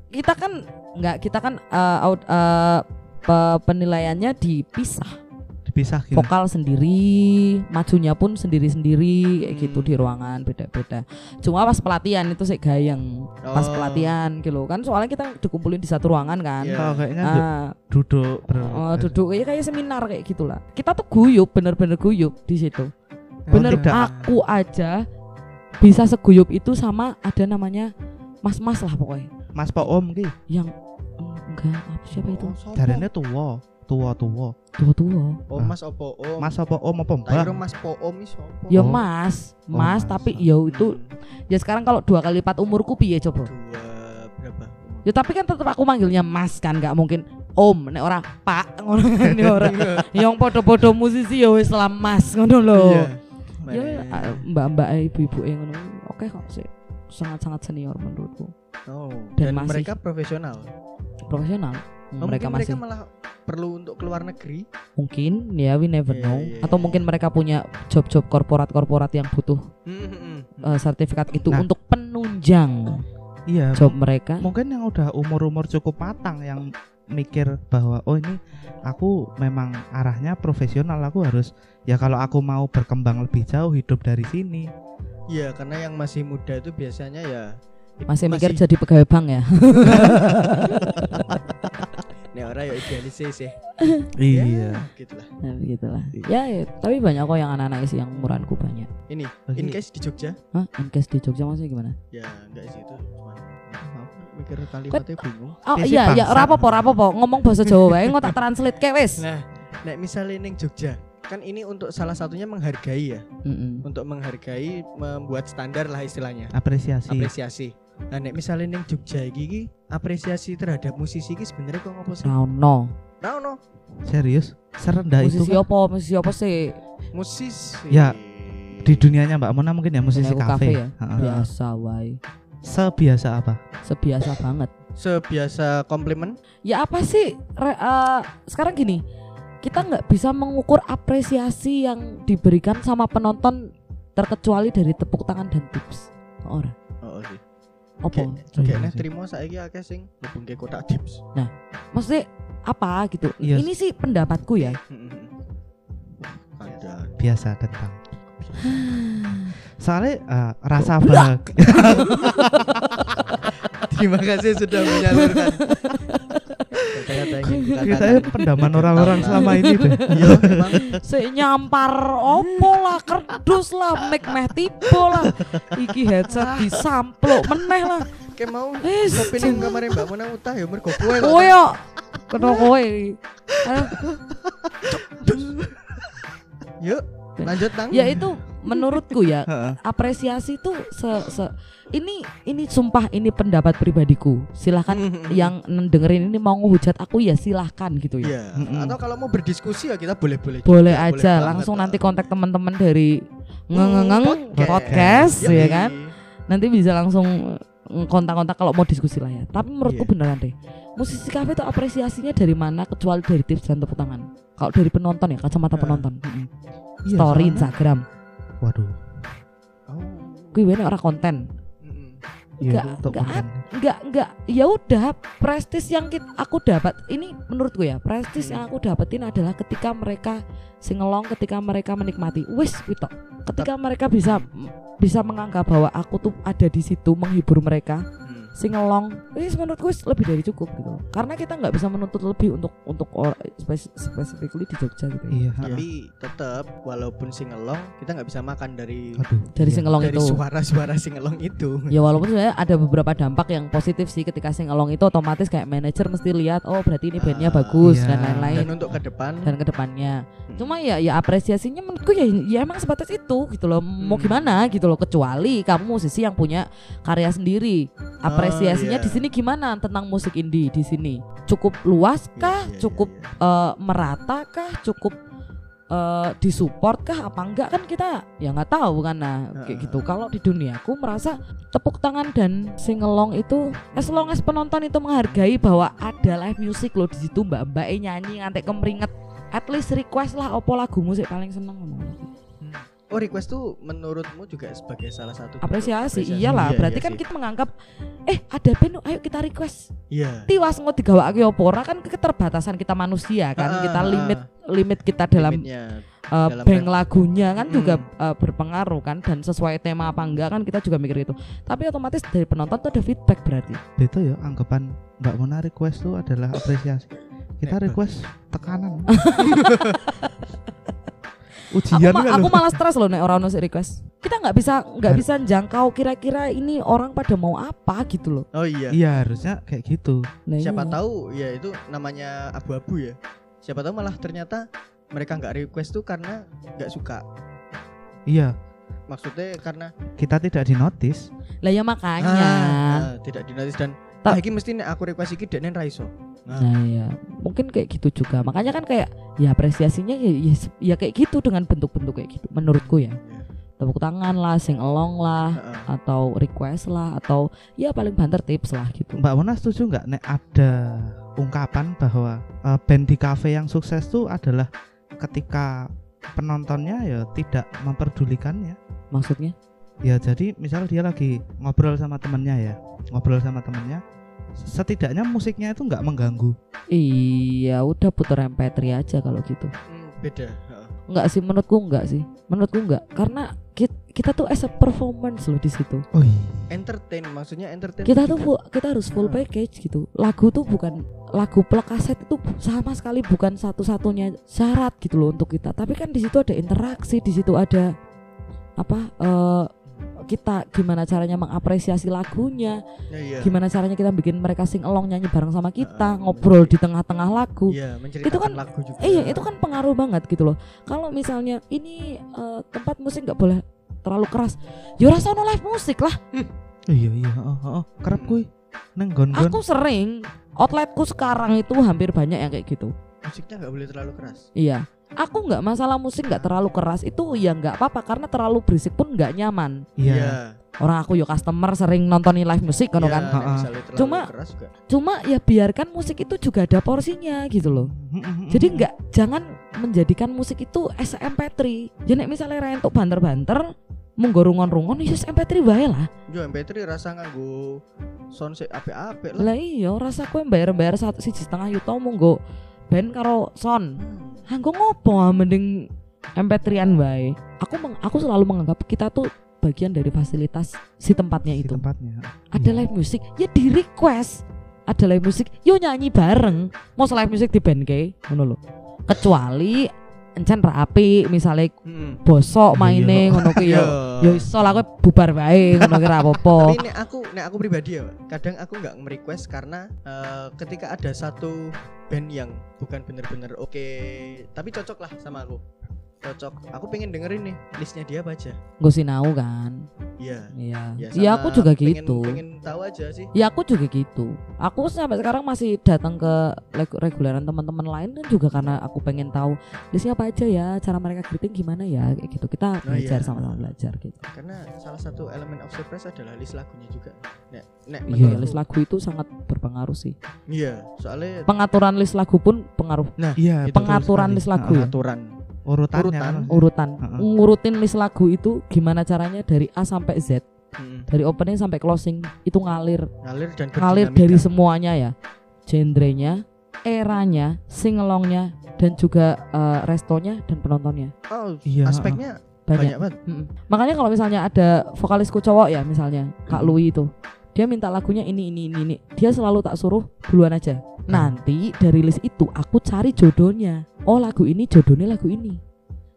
S3: Kita kan nggak kita kan eh, out- eh, pe- penilaiannya dipisah.
S1: Dipisah gitu.
S3: vokal sendiri, majunya pun sendiri-sendiri kayak gitu
S2: Hmm.
S3: di ruangan beda-beda. Cuma pas pelatihan itu sih gayeng. Pas
S2: Oh.
S3: pelatihan gitu kan soalnya kita dikumpulin di satu ruangan kan.
S2: Iya.
S1: Oh, kayaknya du-
S3: Nah,
S1: duduk ber-
S3: oh, duduk kayak kayak seminar kayak gitulah. Kita tuh guyup, bener-bener guyup di situ.
S1: Eh,
S3: Bener
S1: Oh, tidak.
S3: aku aja bisa seguyup itu sama ada namanya mas-mas lah pokoknya.
S1: Mas Pak Om ki.
S3: Yang enggak apa
S2: oh,
S3: siapa itu?
S1: Jarene tuwa, tuwa-tuwa.
S3: Tua-tua.
S2: Oh Mas opo Om.
S1: Mas apa Om apa
S2: Tak
S1: Mbak?
S2: kira Mas Po Om iso.
S3: Ya
S1: Oh.
S3: mas,
S1: Oh,
S3: mas,
S1: Mas.
S3: tapi ya itu
S2: Hmm,
S3: ya sekarang kalau dua kali lipat umurku piye coba?
S2: dua berapa?
S3: Ya tapi kan tetap aku manggilnya Mas kan nggak mungkin Om nek ora Pak ngono kan ya ora. Yang podo-podo musisi ya wis lah Mas ngono lho.
S2: Iya.
S3: Ya
S2: Mana-
S3: mbak-mbak ibu-ibu yang ngono oke kok sih sangat-sangat senior menurutku
S2: Oh,
S3: Dan
S2: dan,
S3: masih-
S2: mereka profesional.
S3: profesional
S2: Oh,
S3: mereka
S2: mungkin mereka
S3: masih
S2: malah perlu untuk keluar negeri.
S3: mungkin ya we never
S2: Iya,
S3: know
S2: iya,
S3: atau
S2: iya.
S3: mungkin mereka punya job-job korporat-korporat yang butuh
S2: Oh.
S3: eh, sertifikat itu
S1: Nah.
S3: untuk penunjang
S1: Iya.
S2: Nah.
S3: job mereka
S1: Mungkin yang udah umur-umur cukup matang yang mikir bahwa oh ini aku memang arahnya profesional aku harus ya kalau aku mau berkembang lebih jauh hidup dari sini
S2: Iya, karena yang masih muda itu biasanya ya
S3: masih mikir jadi pegawai bank ya
S2: Nek ora ya idealis sih sih.
S1: Iya.
S2: Ya, gitu lah.
S3: nah, begitulah ya, ya tapi banyak kok yang anak-anak isi yang umuranku banyak
S2: Ini
S1: Oke.
S2: in case di Jogja
S3: Hah? In case di Jogja maksudnya gimana?
S2: ya enggak sih itu cuman ya, mikir kalimatnya bingung.
S3: Oh
S1: Desi
S3: iya, ya
S1: bangsa.
S3: rapopo rapopo ngomong bahasa Jawa wae engko tak translate ke wis.
S2: Nah, nek misalnya ning Jogja kan ini untuk salah satunya menghargai ya,
S3: Mm-mm.
S2: untuk menghargai membuat standar lah istilahnya.
S1: apresiasi
S2: Apresiasi. Nah, nek misalnya ning Jogja iki, iki apresiasi terhadap musisi iki sebenarnya kok ngopo sih?
S3: Ra ono.
S2: Nah, no,
S1: serius serendah itu
S3: Musisi
S1: kan?
S3: apa? Musisi apa sih?
S2: musisi.
S1: Ya, di dunianya Mbak Mona mungkin ya musisi
S3: Aku
S1: kafe
S3: ya.
S1: Heeh.
S3: Biasa wae.
S1: sebiasa apa
S3: Sebiasa banget.
S2: sebiasa komplimen.
S3: Ya apa sih? Re- eh, sekarang gini, kita nggak bisa mengukur apresiasi yang diberikan sama penonton terkecuali dari tepuk tangan dan tips. Ora.
S2: Oh, oke.
S3: Apa?
S2: Kayaknya
S1: sih.
S2: terima saiki akeh sing hubungke kotak tips.
S3: Maksudnya apa gitu?
S1: Iya.
S3: Ini sih pendapatku ya.
S2: Ada.
S1: biasa tentang soalnya eh, rasa
S3: Goblok.
S1: bahagia
S2: Terima kasih sudah menyalurkan. Saya
S1: Kayaknya pendaman orang-orang selama ini deh
S2: Yo, emang
S3: Sik nyampar opo lah kerdus lah mic meh tiba lah iki headset disamplok meneh lah
S2: kayak mau
S3: wis
S2: kopi ning kamare Mbak Mona utah ya mergo kowe.
S3: kowe yo kena kowe iki. Aduh,
S2: Yuk, lanjut Tang.
S3: iya. ya itu menurutku ya
S1: Heeh.
S3: apresiasi itu se, se- ini ini sumpah ini pendapat pribadiku silahkan
S2: Hmm.
S3: yang dengerin ini mau ngehujat aku ya silahkan gitu ya
S2: Iya.
S1: Mm-mm.
S2: Atau kalau mau berdiskusi ya kita boleh-boleh. juga,
S3: boleh aja
S2: banget. Iya,
S3: langsung nanti kontak teman-teman dari ngengengeng podcast
S2: Yoi.
S3: ya kan nanti bisa langsung mm, kontak-kontak kalau mau diskusi lah ya. Tapi
S2: Iya.
S3: menurutku beneran deh. Musisi kafe itu apresiasinya dari mana kecuali dari tips dan tepuk tangan. Kalau dari penonton ya, kacamata
S2: Ah.
S3: penonton.
S1: Mm-mm. Iya,
S3: story
S1: soalnya-
S3: Instagram.
S1: Waduh.
S2: Oh.
S3: Kuwi wene ora konten.
S2: Mm-mm.
S1: Iya,
S3: Nggak-
S1: untuk
S3: nggak
S1: konten.
S3: Enggak, enggak. Ya udah, prestis yang kit- aku dapat ini menurutku ya, prestis yang aku dapetin adalah ketika mereka singelong, ketika mereka menikmati. Wis kuwi tok. Ketika mereka bisa bisa menganggap bahwa aku tuh ada di situ menghibur mereka,
S2: Hmm.
S3: singelong ini menurutku is lebih dari cukup gitu karena kita nggak bisa menuntut lebih untuk untuk or, spes- specifically di Jogja gitu ya.
S1: Iya. ha-ha.
S2: Tapi tetap walaupun singelong kita nggak bisa makan dari
S1: Aduh.
S3: dari
S1: iya.
S3: singelong
S2: dari
S3: itu
S2: suara-suara singelong itu.
S3: ya walaupun sebenarnya ada beberapa dampak yang positif sih ketika singelong itu otomatis kayak manajer mesti lihat oh berarti ini bandnya
S2: Ah,
S3: bagus
S1: iya.
S3: dan lain-lain
S2: Dan untuk ke depan
S3: Nah, dan kedepannya
S2: Hmm.
S3: cuma ya ya apresiasinya menurutku ya ya emang sebatas itu gitu loh mau
S2: Hmm.
S3: gimana gitu loh kecuali kamu musisi yang punya karya sendiri apresiasinya
S2: iya.
S3: di sini gimana tentang musik indie di sini cukup luas
S2: Iya,
S3: kah
S2: iya,
S3: cukup
S2: iya, iya.
S3: eh, merata kah cukup eh, disupport kah apa enggak kan kita ya nggak tahu kan nah kayak
S2: Heeh.
S3: gitu kalau di duniaku merasa tepuk tangan dan singelong itu as long as penonton itu menghargai bahwa ada live music loh di situ mbak mbak e nyanyi ngantek kemeringet at least request lah opo lagumu sih paling seneng ngomong
S2: Oh request tuh menurutmu juga sebagai salah satu bentuk
S3: apresiasi,
S2: apresiasi?
S3: iyalah
S2: Iya,
S3: berarti
S2: iya
S3: kan
S2: sih.
S3: kita menganggap eh ada band ayo kita request
S2: Iya.
S3: tiwas ngot digawa opo ora kan keterbatasan kita manusia kan
S2: Ah,
S3: kita
S2: ah,
S3: limit
S2: ah,
S3: limit kita dalam
S2: limitnya.
S3: uh,
S2: Dalam Hmm.
S3: bank
S2: rem-
S3: lagunya kan
S2: Mm-mm.
S3: juga uh, berpengaruh kan dan sesuai tema apa enggak kan kita juga mikir itu tapi otomatis dari penonton tuh ada feedback berarti
S1: Itu ya anggapan Mbak Mona request tuh adalah apresiasi. Kita
S2: Nek,
S1: request tekanan.
S3: aku,
S1: Ujian
S3: ma-
S1: kan
S3: aku
S1: loh.
S3: malah stres loh nek orang nusik request kita nggak bisa nggak
S1: Har-
S3: bisa jangkau kira-kira ini orang pada mau apa gitu loh
S2: Oh iya.
S1: Iya, harusnya kayak gitu.
S3: Nah,
S2: Siapa
S3: iya.
S2: tahu ya itu namanya abu-abu ya. Siapa tahu malah ternyata mereka nggak request tuh karena nggak suka.
S1: Iya,
S2: Maksudnya karena
S1: kita tidak dinotis.
S3: lah ya makanya
S2: Ah, ah, tidak dinamis dan
S3: Ta-
S2: ah, iki mesti nek aku request iki dekne ra iso.
S3: nah ya mungkin kayak gitu juga makanya kan kayak ya apresiasinya ya, ya, se- ya kayak gitu dengan bentuk-bentuk kayak gitu menurutku ya tepuk tangan lah sing along lah
S2: Heeh.
S3: atau request lah atau ya paling banter tips lah gitu
S1: Mbak Mona setuju nggak nek ada ungkapan bahwa eh, band di kafe yang sukses tuh adalah ketika penontonnya ya tidak memperdulikannya.
S3: maksudnya
S1: Ya jadi misal dia lagi ngobrol sama temennya ya, ngobrol sama temennya, setidaknya musiknya itu nggak mengganggu.
S3: Iya, udah putar MP3 aja kalau gitu.
S2: Hmm, beda. Heeh.
S3: Enggak sih menurutku enggak sih. Menurutku enggak karena kit- kita, tuh as a performance loh di situ.
S1: Oh
S2: Entertain maksudnya entertain.
S3: Kita tuh fu- kita harus full
S2: Hmm.
S3: package gitu. Lagu tuh bukan lagu plek kaset itu sama sekali bukan satu-satunya syarat gitu loh untuk kita. Tapi kan di situ ada interaksi, di situ ada apa eh, kita gimana caranya mengapresiasi lagunya,
S2: Ya, iya.
S3: gimana caranya kita bikin mereka sing along nyanyi bareng sama kita,
S2: Hmm.
S3: ngobrol di tengah-tengah lagu.
S2: Iya, menceritakan
S3: kan-
S2: lagu juga.
S3: Eh, Iya itu kan pengaruh banget gitu loh. Kalau misalnya ini eh, tempat musik nggak boleh terlalu keras, ya ora sono live musik lah.
S1: iya iya, oh, oh, oh. kerap kui neng gon gon.
S3: Aku sering outletku sekarang itu hampir banyak yang kayak gitu.
S2: musiknya nggak boleh terlalu keras.
S3: Iya. Aku nggak masalah musik nggak terlalu keras itu ya nggak apa-apa karena terlalu berisik pun nggak nyaman.
S1: Iya.
S3: Orang aku yo customer sering nontonin live musik kono
S2: Iya,
S3: kan.
S2: nek
S1: Heeh.
S2: misalnya terlalu
S3: Cuma-
S2: keras juga.
S3: Cuma ya biarkan musik itu juga ada porsinya gitu loh. Jadi nggak jangan menjadikan musik itu as MP3. Jadi misalnya ra entuk banter-banter, monggo rungon-rungon ya as MP3 wae lah.
S2: Yo MP3 rasa nganggo sound sik apik-apik lah.
S3: Lah iya rasa kowe bayar-bayar satu siji setengah yuta monggo ben karo son.
S2: Hmm.
S3: Hanggo ngopo ah, mending MP3-an wae. Aku meng- aku selalu menganggap kita tuh bagian dari fasilitas si tempatnya
S1: Si
S3: itu.
S1: tempatnya.
S3: Ada
S1: Iya.
S3: live music, ya di request. Ada live music, yo nyanyi bareng. Mau live music di band ngono lho. Kecuali encen ra apik misalnya
S2: Hmm.
S1: Iya,
S3: bosok maine
S1: iya.
S3: ngono kuwi
S2: Iya.
S3: yo. Yo iso lah kowe bubar wae ngono ki ra apa-apa.
S2: Tapi nek aku nek aku pribadi ya, Pak, kadang aku nggak merequest karena eh, ketika ada satu band yang bukan bener-bener oke, tapi cocok lah sama aku. Cocok. Aku pengen dengerin nih listnya dia apa aja.
S3: Nggo sinau kan.
S2: Iya.
S3: Iya.
S2: Iya,
S3: Ya
S2: sama
S3: aku juga
S2: pengen-
S3: gitu.
S2: Pengen tahu aja sih.
S3: Ya aku juga gitu. Aku sampai sekarang masih datang ke leg- reguleran teman-teman lain kan juga karena aku pengen tahu listnya apa aja ya, cara mereka greeting gimana ya, kayak gitu. Kita belajar
S2: iya.
S3: sama-sama belajar gitu.
S2: Karena salah satu elemen of surprise adalah list lagunya juga. Nek nek
S3: Iya,
S2: menurutku-
S3: list lagu itu sangat berpengaruh sih.
S2: Iya, soalnya
S3: Pengaturan list lagu pun pengaruh.
S1: Iya. betul
S3: Pengaturan
S1: sekali.
S3: list
S1: Ah,
S3: lagu ya.
S2: pengaturan.
S1: urutannya
S2: Urutan.
S1: kan?
S3: urutan
S1: Heeh.
S3: ngurutin list lagu itu gimana caranya dari A sampai Z
S2: Mm-mm.
S3: dari opening sampai closing itu ngalir
S2: ngalir dan
S3: ngalir
S2: berdinamika.
S3: dari semuanya ya genrenya eranya singelongnya dan juga eh, restonya dan penontonnya
S2: oh,
S1: Iya,
S2: aspeknya banyak
S3: banyak,
S2: banget
S3: Mm-mm. makanya kalau misalnya ada vokalisku cowok ya misalnya Kak Lui itu dia minta lagunya ini ini ini ini dia selalu tak suruh duluan aja nanti dari list itu aku cari jodohnya oh lagu ini jodohnya lagu ini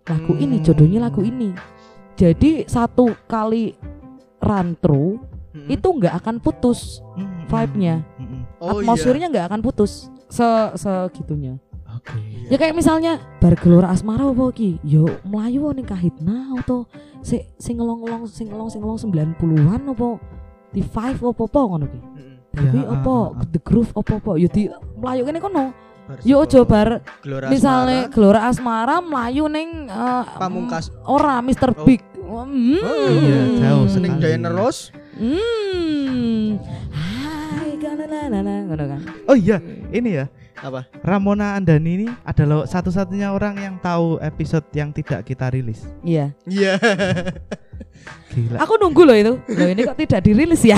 S3: lagu ini jodohnya lagu ini jadi satu kali run through
S2: Mm-mm.
S3: itu nggak akan putus
S1: Mm-mm.
S3: vibe-nya.
S1: Mm-mm.
S2: Oh, iya.
S3: atmosfernya nggak akan putus se segitunya
S1: Oke.
S2: Iya.
S3: ya kayak misalnya bar gelora asmara apa ki yo melayu ning kahitna atau si singelong-elong singelong singelong 90-an apa di five apa apa ngono ki
S2: Mm-mm.
S3: tapi
S1: Ya, ah,
S3: apa
S1: ah, ah.
S3: the groove apa apa yo di melayu kene kono
S2: Baris
S3: yo
S2: Gelora-
S3: ojo bar
S2: Gelora
S3: misalnya
S2: Asmara,
S3: gelora asmara melayu ning eh,
S2: pamungkas
S3: mm, ora Mr
S2: Oh.
S3: Big Hmm.
S2: Oh,
S1: iya, jauh
S2: Sening Jaya
S1: sekali.
S2: Neros
S3: Hmm. Hai, kana na na na ngono kan.
S1: Oh iya, ini ya.
S2: Apa?
S1: Ramona Andani ini adalah satu-satunya orang yang tahu episode yang tidak kita rilis.
S3: Iya.
S2: Iya.
S1: Gila.
S3: Aku nunggu loh itu. Loh ini kok tidak dirilis ya?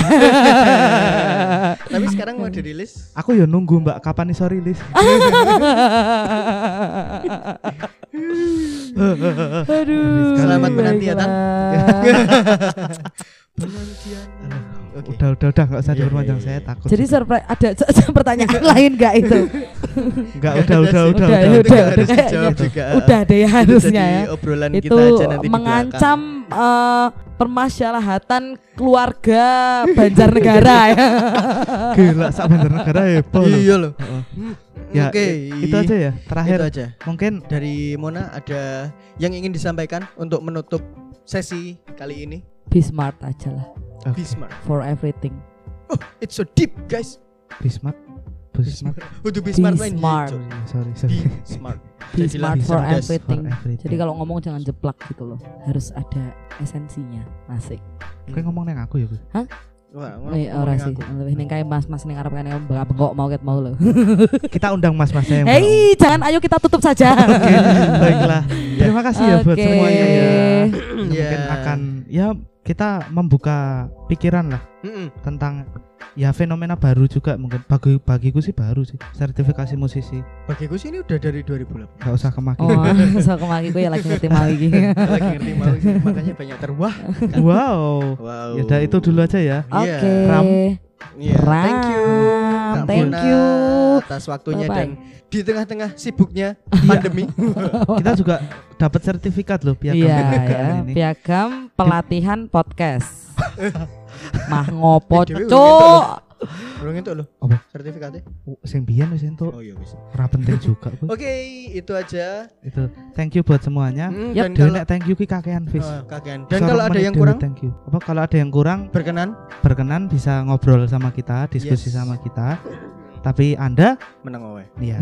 S2: Tapi sekarang mau dirilis.
S1: Aku ya nunggu Mbak kapan iso rilis.
S3: Aduh.
S1: Selamat
S2: menanti ya, Tan.
S3: baiklah.
S2: Penantian. Oke.
S1: Udah udah udah nggak usah
S2: Iya,
S1: diperpanjang
S2: iya, iya.
S1: saya takut.
S3: Jadi surprise ada pertanyaan lain gak itu?
S1: nggak udah udah udah
S3: Udah,
S1: udah.
S2: Itu
S3: udah,
S2: nggak harus
S3: udah,
S2: dijawab
S1: gitu.
S2: juga.
S3: Udah deh
S2: Eh, Itu
S3: harusnya
S2: jadi
S3: ya.
S2: Obrolan
S3: Itu
S2: kita aja nanti di belakang.
S3: mengancam eh, permasyarakatan keluarga Banjarnegara ya.
S1: Gila sak bandar negara heboh. loh.
S2: Iya loh.
S1: Heeh. Ya,
S2: Ya, Oke.
S1: Itu aja ya. Terakhir
S2: Itu aja.
S1: mungkin
S2: Dari Mona ada yang ingin disampaikan untuk menutup sesi kali ini.
S3: Be smart aja lah
S1: Oke.
S2: Be smart.
S3: for everything.
S2: It's so deep, guys.
S1: Bismat Bismat.
S2: Untuk be
S3: Be
S2: smart lain.
S3: smart.
S2: hijau.
S1: Oh, iya, Sorry
S2: Be
S1: sorry.
S2: smart.
S3: Be
S2: Jadilah
S3: smart
S2: bisa
S3: for
S2: cerdas.
S3: everything.
S1: For everything.
S3: Jadi kalau ngomong jangan jeplak gitu loh. Harus ada esensinya. Asik.
S1: Kowe ngomong neng aku ya, Bu.
S2: Wah, ngomong-
S3: Eh, ora
S2: ngomongin
S3: sih.
S2: aku. Oh.
S3: Lebih ning kae mas-mas ning arep kene bengak bengok mau ket mau lho.
S1: Kita undang mas-masnya yang mau.
S3: Hei, jangan ayo kita tutup saja.
S1: Oke, baiklah. Terima kasih ya buat
S3: Oke.
S1: semuanya ya.
S2: Iya.
S1: mungkin akan ya kita membuka pikiran lah
S2: Mm-mm.
S1: tentang ya fenomena baru juga mungkin bagi bagiku sih baru sih sertifikasi musisi
S2: Bagiku sih ini udah dari 2008.
S1: nggak usah kemaki
S3: Oh, so kemaki gue ya lagi ngerti mau iki.
S2: lagi ngerti mau sih, makanya banyak terwah.
S1: wow
S2: Kan? Wow.
S1: ya udah itu dulu aja ya
S2: Iya.
S3: Oke.
S1: Ram.
S2: Iya, Thank you.
S3: Ram,
S2: Kak
S3: Thank
S2: Mona
S3: you.
S2: atas waktunya
S3: Bye-bye.
S2: dan di tengah-tengah sibuknya
S1: Iya.
S2: pandemi.
S1: kita juga dapat sertifikat loh piagam
S2: kan
S3: Iya, ya.
S1: kebanggaan ini
S3: Piagam pelatihan podcast. Mah ngopo,
S2: Eh, Dewi
S3: Cuk.
S2: Belum itu loh.
S1: Apa?
S2: Sertifikatnya?
S1: Oh, sing biyen wis entuk
S2: Oh iya wis.
S1: ora penting juga Bu.
S2: Oke, itu aja.
S1: itu thank you buat semuanya
S2: Hmm,
S3: Yap,
S2: dan
S1: Dewe
S2: kalau
S1: nek thank you ki kakean Fis.
S2: Oh, kakean. Dan
S1: Sorok
S2: kalau ada
S1: menit
S2: yang
S1: Dewe
S2: kurang
S1: thank you. Apa kalau ada yang kurang
S2: berkenan
S1: berkenan bisa ngobrol sama kita, diskusi
S2: Yes.
S1: sama kita. Tapi Anda
S2: menang wae.
S1: ya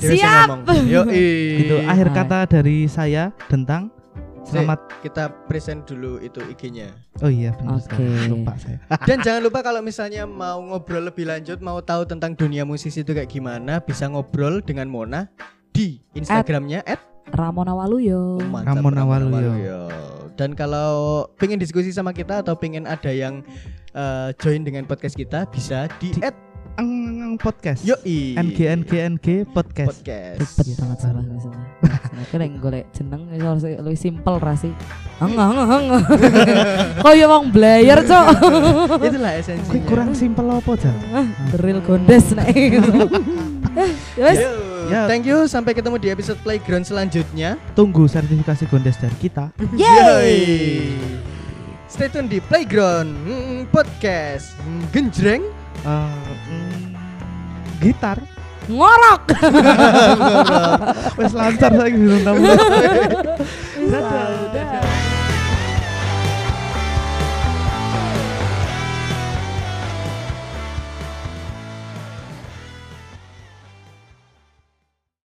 S2: Dewe sing
S3: Siap.
S2: ngomong. Yoi.
S1: Itu Gitu, akhir
S3: Hai.
S1: kata dari saya tentang selamat.
S2: Kita present dulu itu IG-nya.
S1: Oh iya benar
S3: Oke.
S1: sekali. Lupa saya.
S2: Dan jangan lupa kalau misalnya mau ngobrol lebih lanjut, mau tahu tentang dunia musisi itu kayak gimana, bisa ngobrol dengan Mona di Instagramnya at
S3: Ramona Waluyo.
S2: Mantap,
S1: Ramon
S2: Ramon
S1: Awaluyo.
S2: Awaluyo. Dan kalau pengen diskusi sama kita atau pengen ada yang eh, join dengan podcast kita bisa di,
S1: Di-
S2: at
S1: Engeng podcast.
S2: yoi
S1: NGNGNG podcast.
S2: podcast.
S3: Ribet banget
S2: iya.
S3: salah misalnya. Aku yang golek jeneng wis harus lebih simpel ra sih. Engeh engeh engeh. Kaya wong blayar, Cuk.
S2: Itulah
S1: Oke,
S2: esensinya.
S1: kurang simpel apa, Jal?
S3: Deril gondes nek gitu. Eh, Wis.
S2: Yo.
S1: Ya.
S2: Thank you sampai ketemu di episode playground selanjutnya.
S1: Tunggu sertifikasi gondes dari kita. Eh,
S2: Yoi. Stay tune di playground mm, podcast mm, genjreng.
S1: Eh, mm, gitar.
S3: Ngorok.
S1: Wes lancar saya gitu tamu.